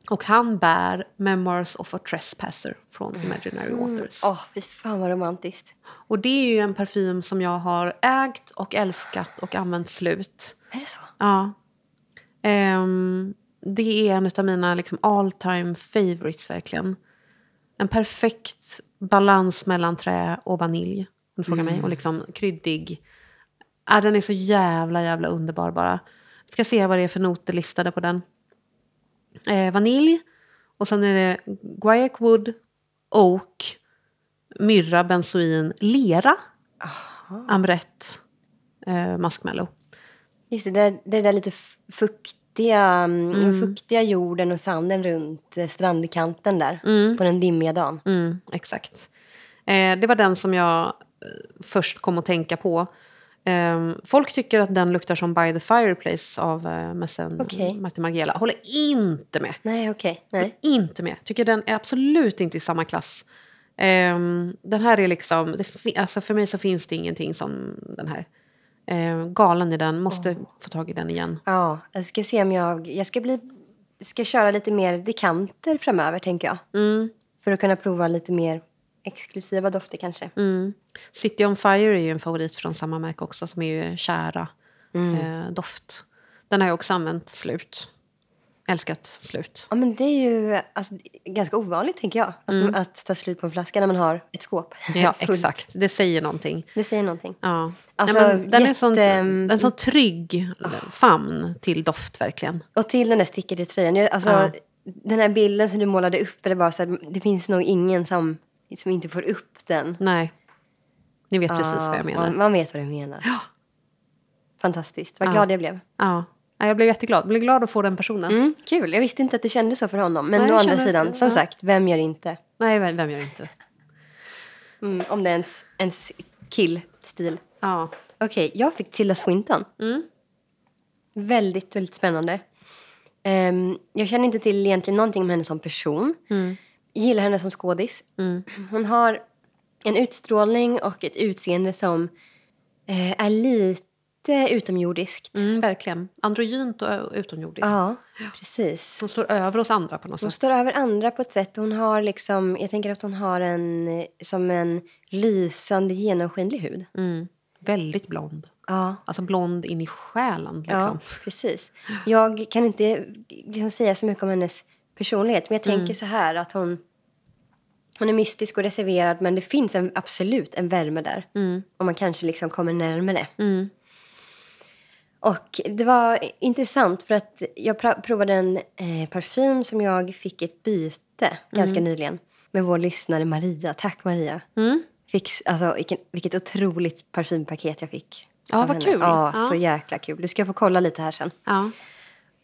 Och han bär Memoirs of a Trespasser från Imaginary Mm. Waters. Åh, fy fan vad romantiskt. Och det är ju en parfym som jag har ägt och älskat och använt slut. Är det så? Ja. Ehm, det är en av mina liksom, all time favorites verkligen. En perfekt balans mellan trä och vanilj. Om du frågar mig. Och liksom kryddig. Ah, den är så jävla, jävla underbar bara. Jag ska se vad det är för noter listade på den. Eh, vanilj. Och sen är det guaiac wood, oak, myrra, benzoin, lera, Aha. amrett, eh, marshmallow. Just det, det, det där lite f- fuktiga, mm. fuktiga jorden och sanden runt eh, strandkanten där. På den dimmiga dagen. Mm, exakt. Eh, det var den som jag eh, först kom att tänka på. Eh, folk tycker att den luktar som By the Fireplace av eh, mässen Okej. Martin Margiela. Håller inte med. Nej, okej. Mm. Nej. Inte med. Tycker den är absolut inte i samma klass. Eh, den här är liksom... Det, fi- alltså för mig så finns det ingenting som den här. Eh, galen i den. Måste få tag i den igen. Ja, jag ska se om jag... Jag ska bli... Ska köra lite mer dekanter framöver, tänker jag. Mm, För att kunna prova lite mer exklusiva dofter kanske. mm. City on Fire är ju en favorit från samma märke också. Som är ju kära. Mm. eh, doft. Den har jag också använt slut. Älskat slut. Ja, men det är ju alltså, ganska ovanligt, tänker jag. Att, att ta slut på en flaska när man har ett skåp. Mm. [laughs] Ja, fullt. exakt. Det säger någonting. Det säger någonting. Ja. Alltså, Nej, men den är sån, jätte- en sån trygg famn till doft verkligen. Och till den där stickade i tröjan. jag- Alltså, Ja. Den här bilden som du målade upp, eller bara så här, det finns nog ingen som, som inte får upp den. Nej, ni vet precis Ja, vad jag menar. Man, man vet Ah, vad du menar. Ja. Fantastiskt. Vad Ja. glad jag blev. Ja. Ja, jag blev jätteglad. Jag blev glad att få den personen. Mm, kul. Jag visste inte att det kändes så för honom. Men Nej, å jag andra känner sidan, så, som ja. sagt, vem gör inte? Nej, vem vem gör inte? Mm, om det är ens, ens killstil. Ja. Okej, jag fick Tilda Swinton. Mm. Väldigt, väldigt spännande. Ehm, jag känner inte till egentligen någonting om henne som person. Mm. Gillar henne som skådis. Mm. Hon har en utstrålning och ett utseende som eh, är lite utomjordiskt. Mm, verkligen. Androgynt och ö- utomjordiskt. Ja, precis. Som står över oss andra på något Hon Ah. sätt. står över andra på ett sätt. Hon har liksom, jag tänker att hon har en, eh, som en lysande genomskinlig hud. Mm. Väldigt blond. Ja, Alltså blond in i själen. Liksom. ja precis. Jag kan inte liksom säga så mycket om hennes personlighet, men jag tänker Mm. så här att hon, hon är mystisk och reserverad, men det finns en, absolut en värme där. Mm. Och man kanske liksom kommer närmare. Mm. Och det var intressant för att jag pra- provade en eh, parfym som jag fick ett byte ganska nyligen med vår lyssnare Maria. Tack Maria. Mm. Fick, s- alltså, vilken, vilket otroligt parfympaket jag fick. Ja, av vad henne. kul. Ja, Ja. så jäkla kul. Du ska få kolla lite här sen. Ja.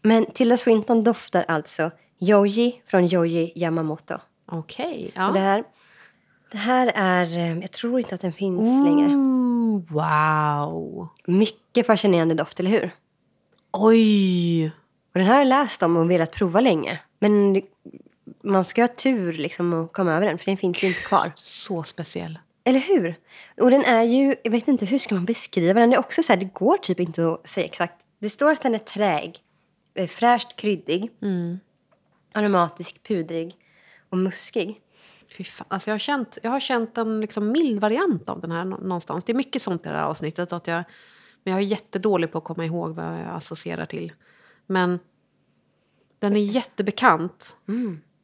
Men Tilda Swinton doftar alltså Yoji från Yoji Yamamoto. Okej. Och det, ja. här, det här är, eh, jag tror inte att den finns Mm. längre. Ooh, wow. Mycket fascinerande doft, eller hur? Oj. Och den här har jag läst om och velat prova länge. Men det- man ska ha tur liksom att komma över den, för den finns ju inte kvar. Så speciell. Eller hur? Och den är ju, jag vet inte hur ska man beskriva den? Det är också så här, det går typ inte att säga exakt. Det står att den är träig, eh, fräscht kryddig, aromatisk, pudrig och muskig. Fy fan. Alltså jag, har känt, jag har känt en liksom mild variant av den här nå- någonstans. Det är mycket sånt i det här avsnittet. Att jag, men jag är jättedålig på att komma ihåg vad jag associerar till. Men den är jättebekant.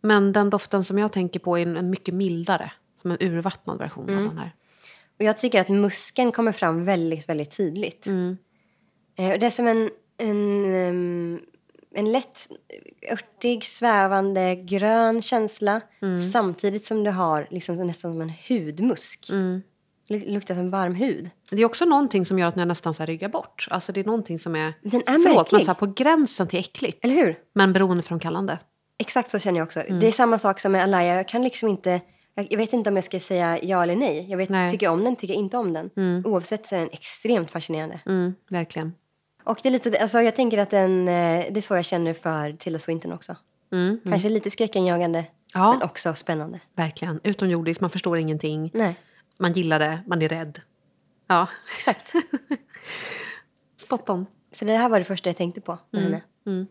Men den doften som jag tänker på är en, en mycket mildare. Som en urvattnad version av den här. Och jag tycker att musken kommer fram väldigt, väldigt tydligt. Mm. Eh, och Det är som en, en, ehm, en lätt örtig, svävande, grön känsla Mm. samtidigt som du har liksom nästan som en hudmusk. Mm. Det luktar som varm hud. Det är också någonting som gör att jag nästan så här ryggar bort. Alltså det är någonting som är, Den är förlåt, men märklig. så här på gränsen till äckligt. Eller hur? Men beroendeframkallande. Exakt så känner jag också. Mm. Det är samma sak som med Alaya. Jag kan liksom inte... Jag jag vet inte om jag ska säga ja eller nej. Jag vet, Nej. Tycker jag om den, tycker jag inte om den. Oavsett så är den extremt fascinerande. Mm, verkligen. Och det är lite, alltså jag tänker att den, eh, det är så jag känner för Tilda Swinton också. Mm, mm. Kanske lite skräckinjagande, Ja. men också spännande. Verkligen. Utomjordiskt, man förstår ingenting. Nej, Man gillar det, man är rädd. Ja, exakt. spot on. så det här var det första jag tänkte på med henne. Mm.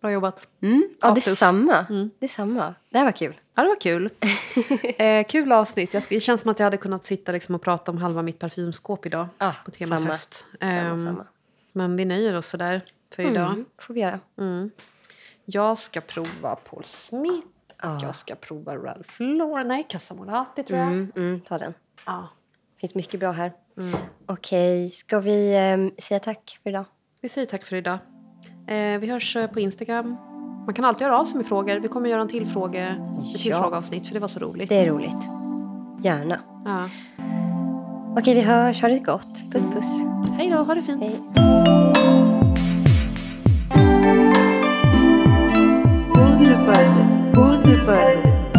Bra jobbat. Mm. Ja, Ja, plus. Mm. detsamma. detsamma. Det här var kul. Ja, det [laughs] var kul. eh, kul avsnitt. Jag, sk- det känns som att jag hade kunnat sitta liksom och prata om halva mitt parfymskåp idag. Ja, på temat Ah, samma. höst. Samma, Ehm, samma. Men vi nöjer oss sådär för idag. Mm, får vi göra. Mm. Jag ska prova Paul Smith. Ja. Jag ska prova Ralph Lauren. Nej, Casamorati tror jag. Mm, mm, ta den. Ja. Det finns mycket bra här. Mm. Okej, ska vi ehm, säga tack för idag? Vi säger tack för idag. Eh, vi hörs eh, på Instagram. Man kan alltid höra av sig med frågor. Vi kommer göra en till fråge, ett till Ja. frågeavsnitt för det var så roligt. Det är roligt. Gärna. Ja. Okej, vi hörs. Ha det gott. Puss, puss. Hej då, ha det fint. Hej. Bode Bud, Bode Bud.